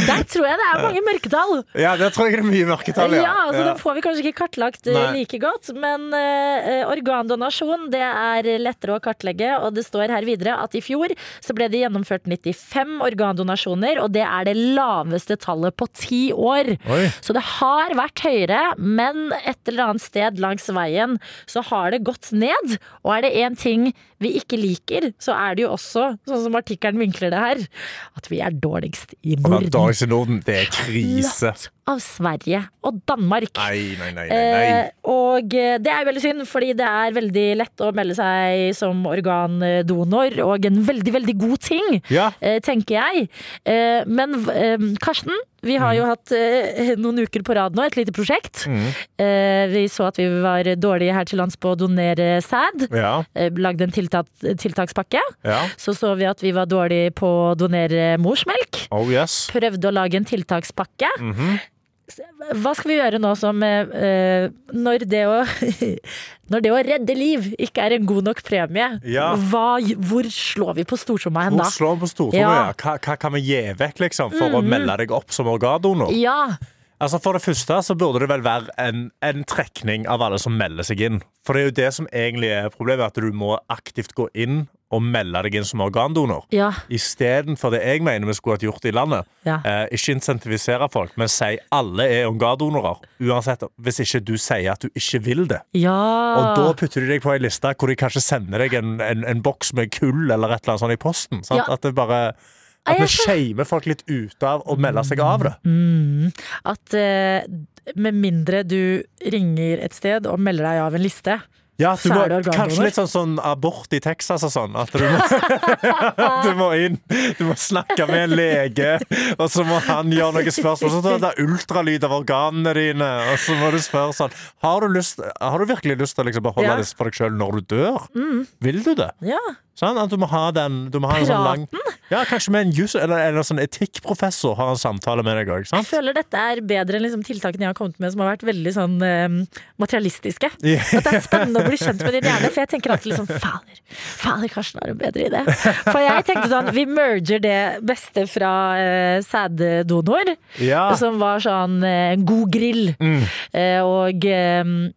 B: Der tror jeg det er mange mørketall!
C: Ja, der tror jeg det er mye mørketall.
B: Ja, altså Den får vi kanskje ikke kartlagt eh,
C: Nei.
B: like godt, men eh, organdonasjon det er lettere å kartlegge. Og det står her videre at i fjor så ble det gjennomført 95 organdonasjoner, og det er det laveste tallet på ti år.
C: Oi.
B: Så det har vært høyere, men et eller annet sted langs veien så har det gått ned. Og er det én ting vi ikke liker, så er det jo også, sånn som artikkelen vinkler det her, at vi er dårligst i
C: Og den
B: Norden.
C: dårligste i Norden, det er krise.
B: Latt av Sverige og Danmark.
C: Nei, nei, nei, nei.
B: Eh,
C: nei.
B: og eh, det er veldig synd, fordi det er veldig lett å melde seg som organdonor, og en veldig, veldig god ting,
C: Ja.
B: eh, tenker jeg. Eh, men eh, Karsten, vi har jo hatt eh, noen uker på rad nå, et lite prosjekt.
C: Mm.
B: Eh, vi så at vi var dårlige her til lands på å donere sæd.
C: Ja.
B: Eh, lagde en tiltak, tiltakspakke.
C: Ja.
B: Så så vi at vi var dårlige på å donere morsmelk.
C: Oh yes.
B: Prøvde å lage en tiltakspakke.
C: Mhm.
B: Hva skal vi gjøre nå som eh, eh, når, det å, når det å redde liv ikke er en god nok premie,
C: Ja.
B: hva, hvor slår vi på stortromma hen da?
C: Hvor slår vi på stortrommet?
B: Ja.
C: Ja. Hva, hva kan vi gi vekk liksom, for å melde deg opp som organdonor?
B: Ja,
C: Altså, for det første så burde det vel være en, en trekning av alle som melder seg inn. For det er jo det som egentlig er problemet, at du må aktivt gå inn og melde deg inn som organdonor.
B: ja,
C: Istedenfor det jeg mener vi skulle hatt gjort i landet.
B: Ja.
C: Eh, ikke insentivisere folk, men si alle er organdonorer. Uansett hvis ikke du sier at du ikke vil det.
B: ja.
C: Og da putter de deg på ei liste hvor de kanskje sender deg en, en, en boks med kull eller et eller annet sånt i posten. Sant?
B: Ja.
C: At det bare
B: Nei,
C: at vi
B: jeg skjø-
C: shamer folk litt ut av å melde seg av det.
B: Mm. At eh, med mindre du ringer et sted og melder deg av en liste,
C: Ja, at du
B: Så
C: må,
B: er du organdonor?
C: kanskje litt sånn, sånn abort i Texas og sånn. At du må, du må inn, du må snakke med en lege, og så må han gjøre noen spørsmål. Så tar det er ultralyd av organene dine, og så må du spørre sånn Har du, lyst, har du virkelig lyst til å liksom beholde
B: Ja. Mm.
C: disse for deg sjøl når du dør? Vil du det?
B: ja.
C: Sånn, at du må ha den du må ha en sånn lang, Ja, Kanskje med en jus eller, eller sånn etikkprofessor har en samtale med deg òg.
B: Jeg føler dette er bedre enn liksom tiltakene jeg har kommet med som har vært veldig sånn eh, materialistiske.
C: Ja.
B: At det er spennende å bli kjent med din hjerne, for jeg tenker alltid liksom fader, fader, Karsten har en bedre idé. For jeg tenkte sånn, vi merger det beste fra eh, sæddonor,
C: Ja. Mm.
B: som var sånn eh, god grill, eh, og eh,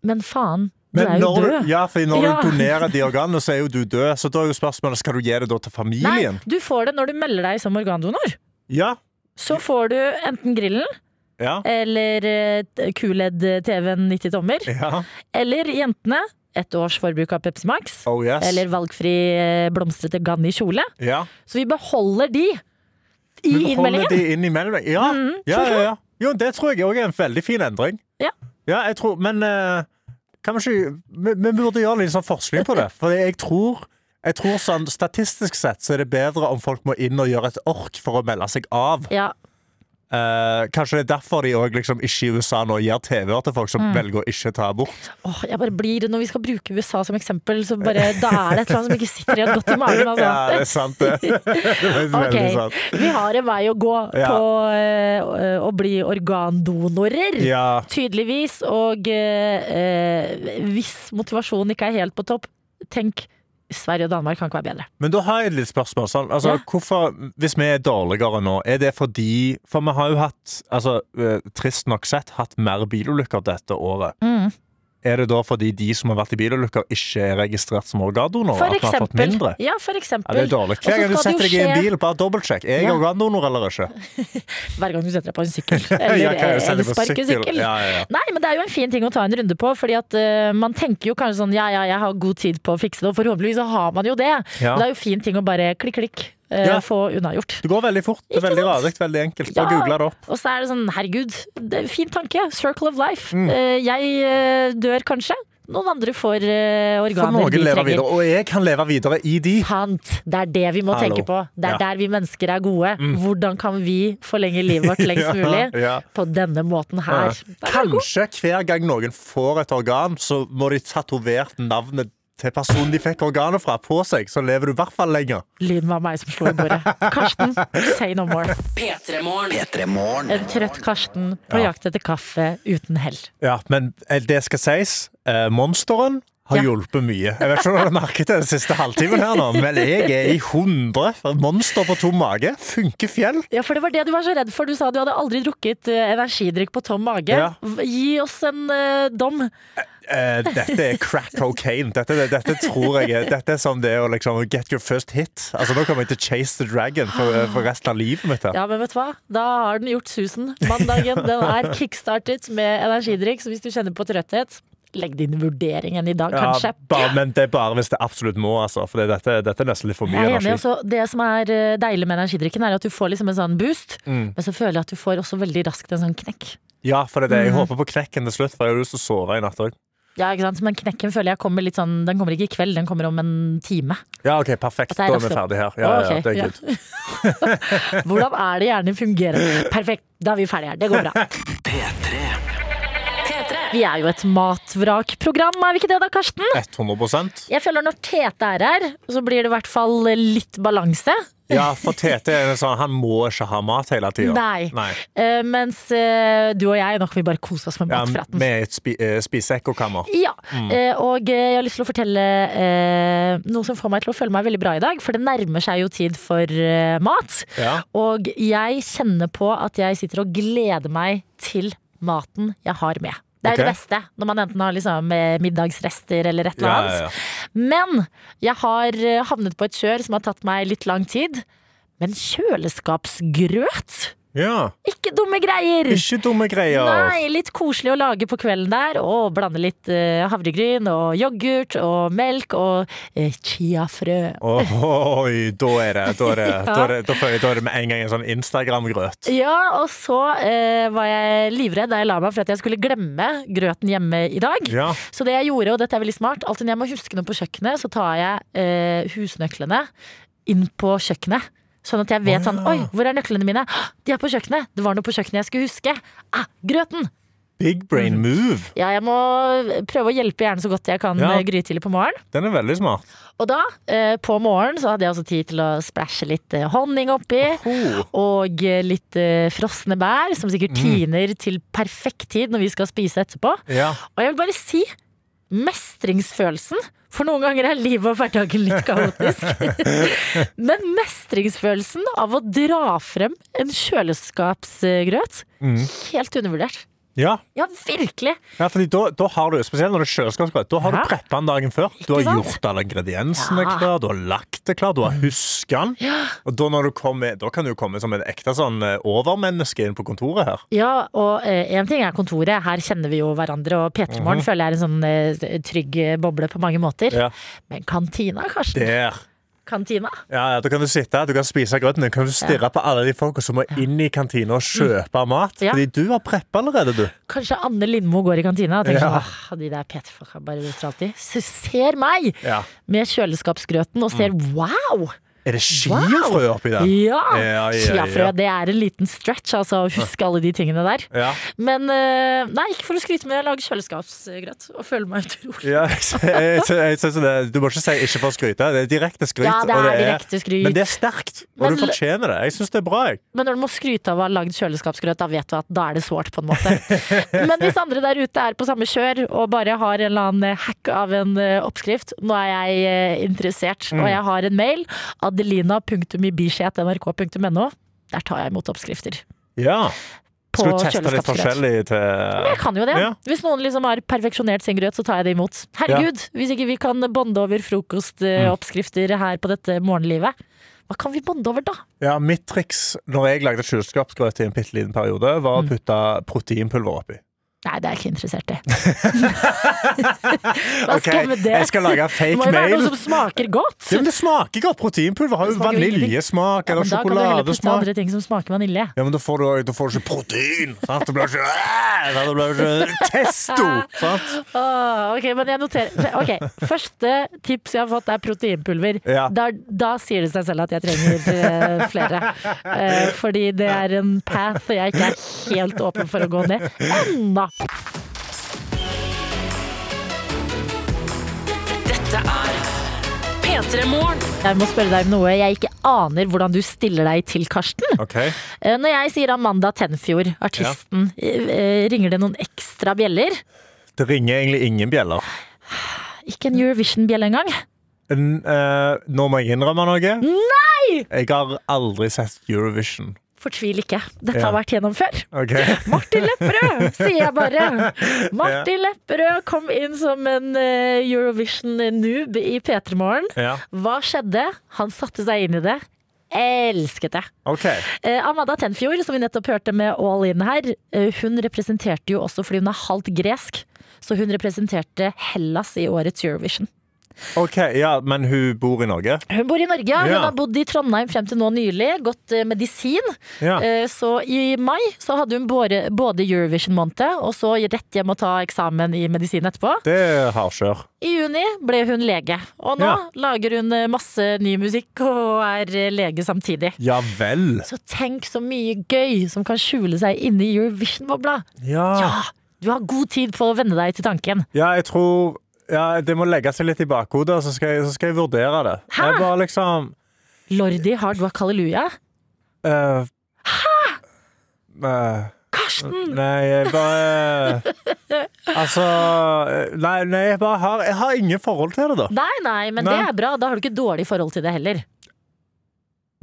B: Men faen, du
C: Men
B: er jo
C: når, du-
B: død.
C: ja, for når
B: Ja.
C: du donerer de organene, så er jo du død. Så da er jo spørsmålet skal du gi det da til
B: Nei,
C: familien.
B: du får det når du melder deg som organdonor.
C: Ja,
B: Så får du enten grillen
C: ja,
B: eller eh, QLED-TV-en 90 tommer.
C: ja.
B: Eller jentene. Ett års forbruk av Pepsi Max.
C: Oh yes.
B: Eller valgfri eh, blomstrete Ganni kjole.
C: ja.
B: Så vi beholder de i
C: Men holder
B: innmeldingen. Mhm.
C: de inn i meldingen? Ja, ja, ja, ja. Jo, det tror jeg òg er en veldig fin endring.
B: Ja.
C: Ja, jeg tror, men eh, kan vi ikke vi- Vi burde gjøre litt sånn forskning på det. For jeg tror, jeg tror sånn, statistisk sett så er det bedre om folk må inn og gjøre et ork for å melde seg av.
B: Ja,
C: Eh, kanskje det er derfor de òg liksom, ikke i USA nå gir TV-er til folk som
B: Mm.
C: velger å ikke ta abort.
B: Åh, jeg bare blir, Når vi skal bruke USA som eksempel, så bare, da er det et eller annet som ikke sitter igjen godt i magen. Altså.
C: Ja, det er sant, det. det er veldig sant.
B: Ok, Vi har en vei å gå
C: Ja.
B: på eh, å- å bli organdonorer.
C: Ja.
B: Tydeligvis. Og eh, eh, hvis motivasjonen ikke er helt på topp, tenk Sverige og Danmark kan ikke være bedre.
C: Men da har jeg et litt spørsmål. Sånn. Altså,
B: Ja.
C: hvorfor, hvis vi er dårligere nå, er det fordi For
B: Mm.
C: vi har jo hatt, altså, eh, trist nok sett, hatt mer bilulykker dette året. Er det da fordi de som har vært i bilulykker, ikke er registrert som organdonorer?
B: For
C: At man har fått
B: eksempel.
C: mindre?
B: Ja, for eksempel.
C: Ja, det er dårlig.
B: Og så
C: Hver gang du
B: skal det
C: setter deg
B: jo
C: i en
B: skje-
C: bil, bare dobbeltsjekk. Er jeg
B: Ja.
C: organdonor eller ikke?
B: Hver gang du setter deg på en sykkel.
C: Ja,
B: Eller, eh,
C: kan jeg sette
B: eller
C: på
B: sparker
C: sykkel?
B: sykkel.
C: Ja, ja, ja.
B: Nei, men det er jo en fin ting å ta en runde på. Fordi at eh, man tenker jo kanskje sånn ja ja, jeg har god tid på å fikse det, og forhåpentligvis så har man jo det.
C: Ja.
B: Men det er jo fin ting å bare klikk, klikk, eh,
C: Ja.
B: få unnagjort.
C: Det går veldig fort. Det er
B: Ikke
C: veldig
B: sant?
C: radig, veldig enkelt.
B: Ja.
C: Bare google det opp.
B: Og så er det sånn, herregud, det er en fin tanke. Circle of life.
C: Mm.
B: Eh, jeg eh, dør kanskje. Noen andre får eh,
C: For
B: organer
C: noen
B: de
C: lever
B: trenger.
C: videre, og jeg kan leve videre i de.
B: Sant. Det er det vi må
C: Hallo.
B: tenke på. Det er
C: Ja.
B: der vi mennesker er gode. Hvordan kan vi forlenge livet vårt lengst
C: Ja,
B: mulig
C: ja.
B: på denne måten her? Det er god.
C: Eh, Kanskje hver gang noen får et organ, så må de tatovert navnet til personen de fikk organet fra, på seg. Så lever du i hvert fall lenger.
B: Lyden var meg som slo i bordet. Karsten, say no more.
A: P3morgen.
D: P3morgen.
B: En trøtt Karsten på
C: Ja.
B: jakt etter kaffe uten hell.
C: Ja, men eh, det skal sies. eh, Monsteren har
B: Ja.
C: hjulpet mye. Jeg vet ikke om du har merket det den siste halvtimen her nå, men jeg er i hundre. Monster på tom mage. Funker fjell.
B: Ja, for det var det du var så redd for. Du sa du hadde aldri drukket eh, energidrikk på tom mage.
C: Ja.
B: V- Gi oss en eh, dom.
C: Eh, dette er crack cocaine. Dette, dette tror jeg er, dette er som det å liksom get your first hit. Altså, nå kommer jeg til å chase the dragon for, for resten av livet mitt. her.
B: Ja, men vet du hva? Da har den gjort susen. Mandagen den er kickstartet med energidrikk, så hvis du kjenner på trøtthet, legg din vurdering enn i dag, kanskje.
C: bare, men det er bare hvis det absolutt må, altså. For det, dette, dette er nesten litt for mye
B: Jeg er enig,
C: energi.
B: altså, det som er eh, deilig med energidrikken, er at du får liksom en sånn boost,
C: Mm.
B: men så føler jeg at du får også veldig raskt en sånn knekk.
C: Ja, for det er det.
B: Mhm.
C: Jeg håper på knekken til slutt, for jeg har lyst til å sove i natt òg.
B: Ja, ikke sant? Men knekken føler jeg kommer litt sånn Den kommer ikke i kveld, den kommer om en time.
C: Ja, OK,
B: At
C: perfekt.
B: det
C: Da
B: er
C: er vi
B: raskt opp.
C: ferdige her. Ja, ja,
B: Ok,
C: det er
B: ja.
C: good.
B: Hvordan er det hjernen fungerer? Perfekt, da er vi ferdige her. Det går bra.
A: P3.
B: Vi er jo et matvrakprogram, er vi ikke det da, Karsten?
C: 100
B: Jeg føler når Tete er her, så blir det i hvert fall litt balanse.
C: Ja, for Tete er sånn Han må ikke ha mat hele tida.
B: Nei. Eh, mens eh, du og jeg nok vil bare kose oss med
C: Ja, Mm.
B: matpraten.
C: vi er et spi eh, spiseekkokammer.
B: Ja, eh, og eh, jeg har lyst til å fortelle eh, noe som får meg til å føle meg veldig bra i dag, for det nærmer seg jo tid for eh, mat.
C: Ja.
B: Og jeg kjenner på at jeg sitter og gleder meg til maten jeg har med. Det er
C: Ok.
B: det beste, når man enten har liksom, eh, middagsrester eller et eller
C: Ja,
B: annet.
C: ja, ja.
B: Men jeg har eh, havnet på et kjør som har tatt meg litt lang tid. Men kjøleskapsgrøt?
C: ja.
B: Ikke dumme greier!
C: Ikke dumme greier.
B: Mm. Nei, litt koselig å lage på kvelden der. Og blande litt eh, havregryn og yoghurt og melk og eh, chiafrø.
C: Oi, da er det Da, er det,
B: Ja.
C: da, er det, da, får jeg, da er det med en gang en sånn Instagram-grøt.
B: Ja, og så eh, var jeg livredd da jeg la meg for at jeg skulle glemme grøten hjemme i dag.
C: Ja.
B: Så det jeg gjorde, og dette er veldig smart, alltid når jeg må huske noe på kjøkkenet, så tar jeg eh, husnøklene inn på kjøkkenet. Sånn at jeg vet sånn Oi, hvor er nøklene mine? «Hå, De er på kjøkkenet! Det var noe på kjøkkenet jeg skulle huske. Ah, grøten!
C: Big brain move.
B: Ja, jeg må eh, prøve å hjelpe hjernen så godt jeg kan
C: Ja.
B: eh, grytidlig på morgenen.
C: Den er veldig smart.
B: Og da, eh, på morgenen, så hadde jeg også tid til å splæsje litt eh, honning oppi. Og eh, litt eh, frosne bær, som sikkert tiner til perfekt tid når vi skal spise etterpå.
C: Ja.
B: Og jeg vil bare si mestringsfølelsen. For noen ganger er livet og hverdagen litt kaotisk. Men mestringsfølelsen av å dra frem en kjøleskapsgrøt, helt undervurdert.
C: Ja,
B: Ja, virkelig!
C: ja fordi da, da har du Spesielt når det er kjøleskapsgrøt. Da har
B: Ja.
C: du preppa den dagen før. Du har
B: sant?
C: gjort alle ingrediensene
B: Ja. Mm.
C: klar, du har lagt det klar, du har huska den. Og da, når du kommer, da kan du komme som en ekte sånn eh, overmenneske inn på kontoret her.
B: Ja, og én ting er kontoret, her kjenner vi jo hverandre, og P3morgen føler jeg er en sånn eh, trygg eh, boble på mange måter.
C: Ja.
B: Men kantina, Karsten?
C: Der.
B: Kantina?
C: Ja, ja, da kan du sitte, du kan spise grøten, du kan stirre på alle de folka som må inn i kantina og kjøpe mat.
B: Ja.
C: Fordi du har preppa allerede, du.
B: Kanskje Anne Lindmo går i kantina og tenker
C: Ja.
B: sånn «Åh, de der P3-folka bare roter alltid. Så ser meg
C: Ja.
B: med kjøleskapsgrøten og ser wow!
C: Er det chiafrø oppi den?
B: Ja!
C: Ja, ja, ja.
B: Chiafrø, det er en liten stretch, altså, å huske alle de tingene der.
C: Ja.
B: Men eh, nei, ikke for å skryte, men jeg lager kjøleskapsgrøt og føler meg utrolig
C: Ja, jeg, jeg, jeg synes det, du må ikke si 'ikke for å skryte'. Det er direkte skryt.
B: Ja, det
C: og
B: er direkte skryt.
C: Men det er sterkt, og
B: Men
C: du fortjener det. Jeg syns det er bra. jeg.
B: Men når du må skryte av å ha lagd kjøleskapsgrøt, da vet du at da er det sårt, på en måte. Men hvis andre der ute er på samme kjør og bare har en eller annen hack av en eh, oppskrift, nå er jeg eh, interessert.
C: Mm.
B: Og jeg har en mail, adelina.mibishet.nrk.no. Der tar jeg imot oppskrifter.
C: Ja.
B: på
C: Skal du teste litt
B: kjøleskapsgrøt.
C: forskjellig til
B: Jeg kan jo det.
C: Ja.
B: Hvis noen liksom har perfeksjonert sin grøt, så tar jeg det imot. Herregud, hvis ikke vi kan bonde over
C: Mm.
B: frokostoppskrifter eh, her på dette morgenlivet, hva kan vi bonde over da?
C: Ja, Mitt triks når jeg lagde kjøleskapsgrøt i en bitte liten periode, var å
B: Mm.
C: putte proteinpulver oppi.
B: Nei, det er jeg ikke interessert i. hva
C: Ok,
B: skal jeg med det?
C: Jeg skal lage
B: det
C: fake
B: må jo være
C: mail.
B: noe som smaker godt.
C: Ja, men det smaker godt. Proteinpulver har jo
B: Det smaker jo ingenting.
C: vaniljesmak eller
B: Men da kan du heller putte
C: sjokoladesmak.
B: andre ting som smaker vanilje.
C: Ja, men da får du, da får du ikke protein! Sant? Det blir ikke, Æ, sant? Det blir ikke testo! Sant?
B: Åh, ok, men jeg noterer Ok, Første tips jeg har fått, er proteinpulver.
C: Ja.
B: Da, da sier det seg selv at jeg trenger eh, flere. Eh, fordi det er en path jeg ikke er helt åpen for å gå ned ennå.
A: Dette er P3 Morgen.
B: Jeg må spørre deg om noe jeg ikke aner hvordan du stiller deg til, Karsten.
C: Ok,
B: Eh, Når jeg sier Amanda Tenfjord, artisten, eh, eh, ringer det noen ekstra bjeller?
C: Det ringer egentlig ingen bjeller.
B: Ikke en Eurovision-bjelle engang.
C: N- eh, nå må jeg innrømme noe. Jeg har aldri sett Eurovision.
B: Fortvil ikke. Dette
C: Ja.
B: har vært gjennom før.
C: Ok?
B: Martin Lepperød, sier jeg bare. Martin Lepperød kom inn som en eh, Eurovision-noob i P3 Morgen.
C: Ja.
B: Hva skjedde? Han satte seg inn i det. Elsket det.
C: Ok.
B: Eh, Amanda Tenfjord, som vi nettopp hørte med All In her, eh, hun representerte jo også fordi hun er halvt gresk. Så hun representerte Hellas i årets Eurovision.
C: Ok, ja, Men hun bor i Norge?
B: Hun bor i Norge. Hun
C: Ja.
B: har bodd i Trondheim frem til nå nylig. Gått eh, medisin.
C: Ja.
B: Eh, Så i mai så hadde hun både, både Eurovision-måned og så rett hjem og ta eksamen i medisin etterpå.
C: Det er hardkjør.
B: I juni ble hun lege, og nå
C: Ja.
B: lager hun eh, masse ny musikk og er eh, lege samtidig.
C: Ja vel.
B: Så tenk så mye gøy som kan skjule seg inni Eurovision-bobla. Ja, du har god tid på å venne deg til tanken.
C: Ja, jeg tror ja, Det må legge seg litt i bakhodet, så skal jeg, så skal jeg vurdere det.
B: Hæ?
C: Jeg bare liksom
B: Lordi Hard Rock Halleluja.
C: Hæ?!
B: Karsten!
C: nei, jeg bare Altså Nei, nei jeg bare har, jeg har ingen forhold til det, da.
B: Nei, nei, men det
C: Nei.
B: er bra. Da har du ikke dårlig forhold til det heller.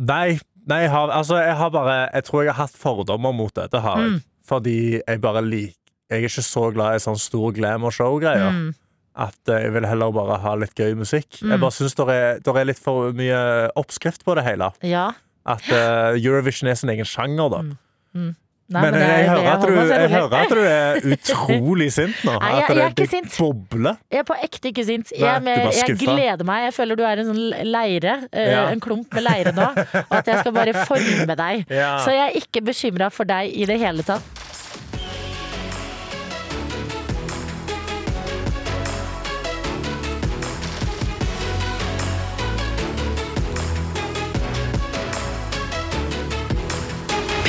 C: Nei, nei jeg, har, altså, jeg har bare Jeg tror jeg har hatt fordommer mot det. Det har jeg. Fordi jeg bare liker Jeg er ikke så glad i sånn stor glamour-show-greier.
B: Mm.
C: At eh, jeg vil heller bare ha litt gøy musikk. Jeg bare syns det er, der er litt for mye oppskrift på det hele.
B: Ja.
C: At eh, Eurovision er sin egen sjanger, da.
B: Nei,
C: men jeg,
B: det-
C: hører at du,
B: holder meg så
C: jeg
B: rolig.
C: hører at du er utrolig sint nå.
B: Nei, jeg-
C: at det,
B: jeg er ikke
C: det
B: sint.
C: bobler.
B: Jeg er på ekte ikke sint. Jeg,
C: Nei,
B: er mer,
C: du var
B: jeg
C: skuffa.
B: gleder meg. Jeg føler du er en sånn leire, eh,
C: Ja.
B: en klump med leire nå. Og at jeg skal bare forme deg.
C: Ja.
B: Så jeg er ikke bekymra for deg i det hele tatt.
A: P3 Morgen.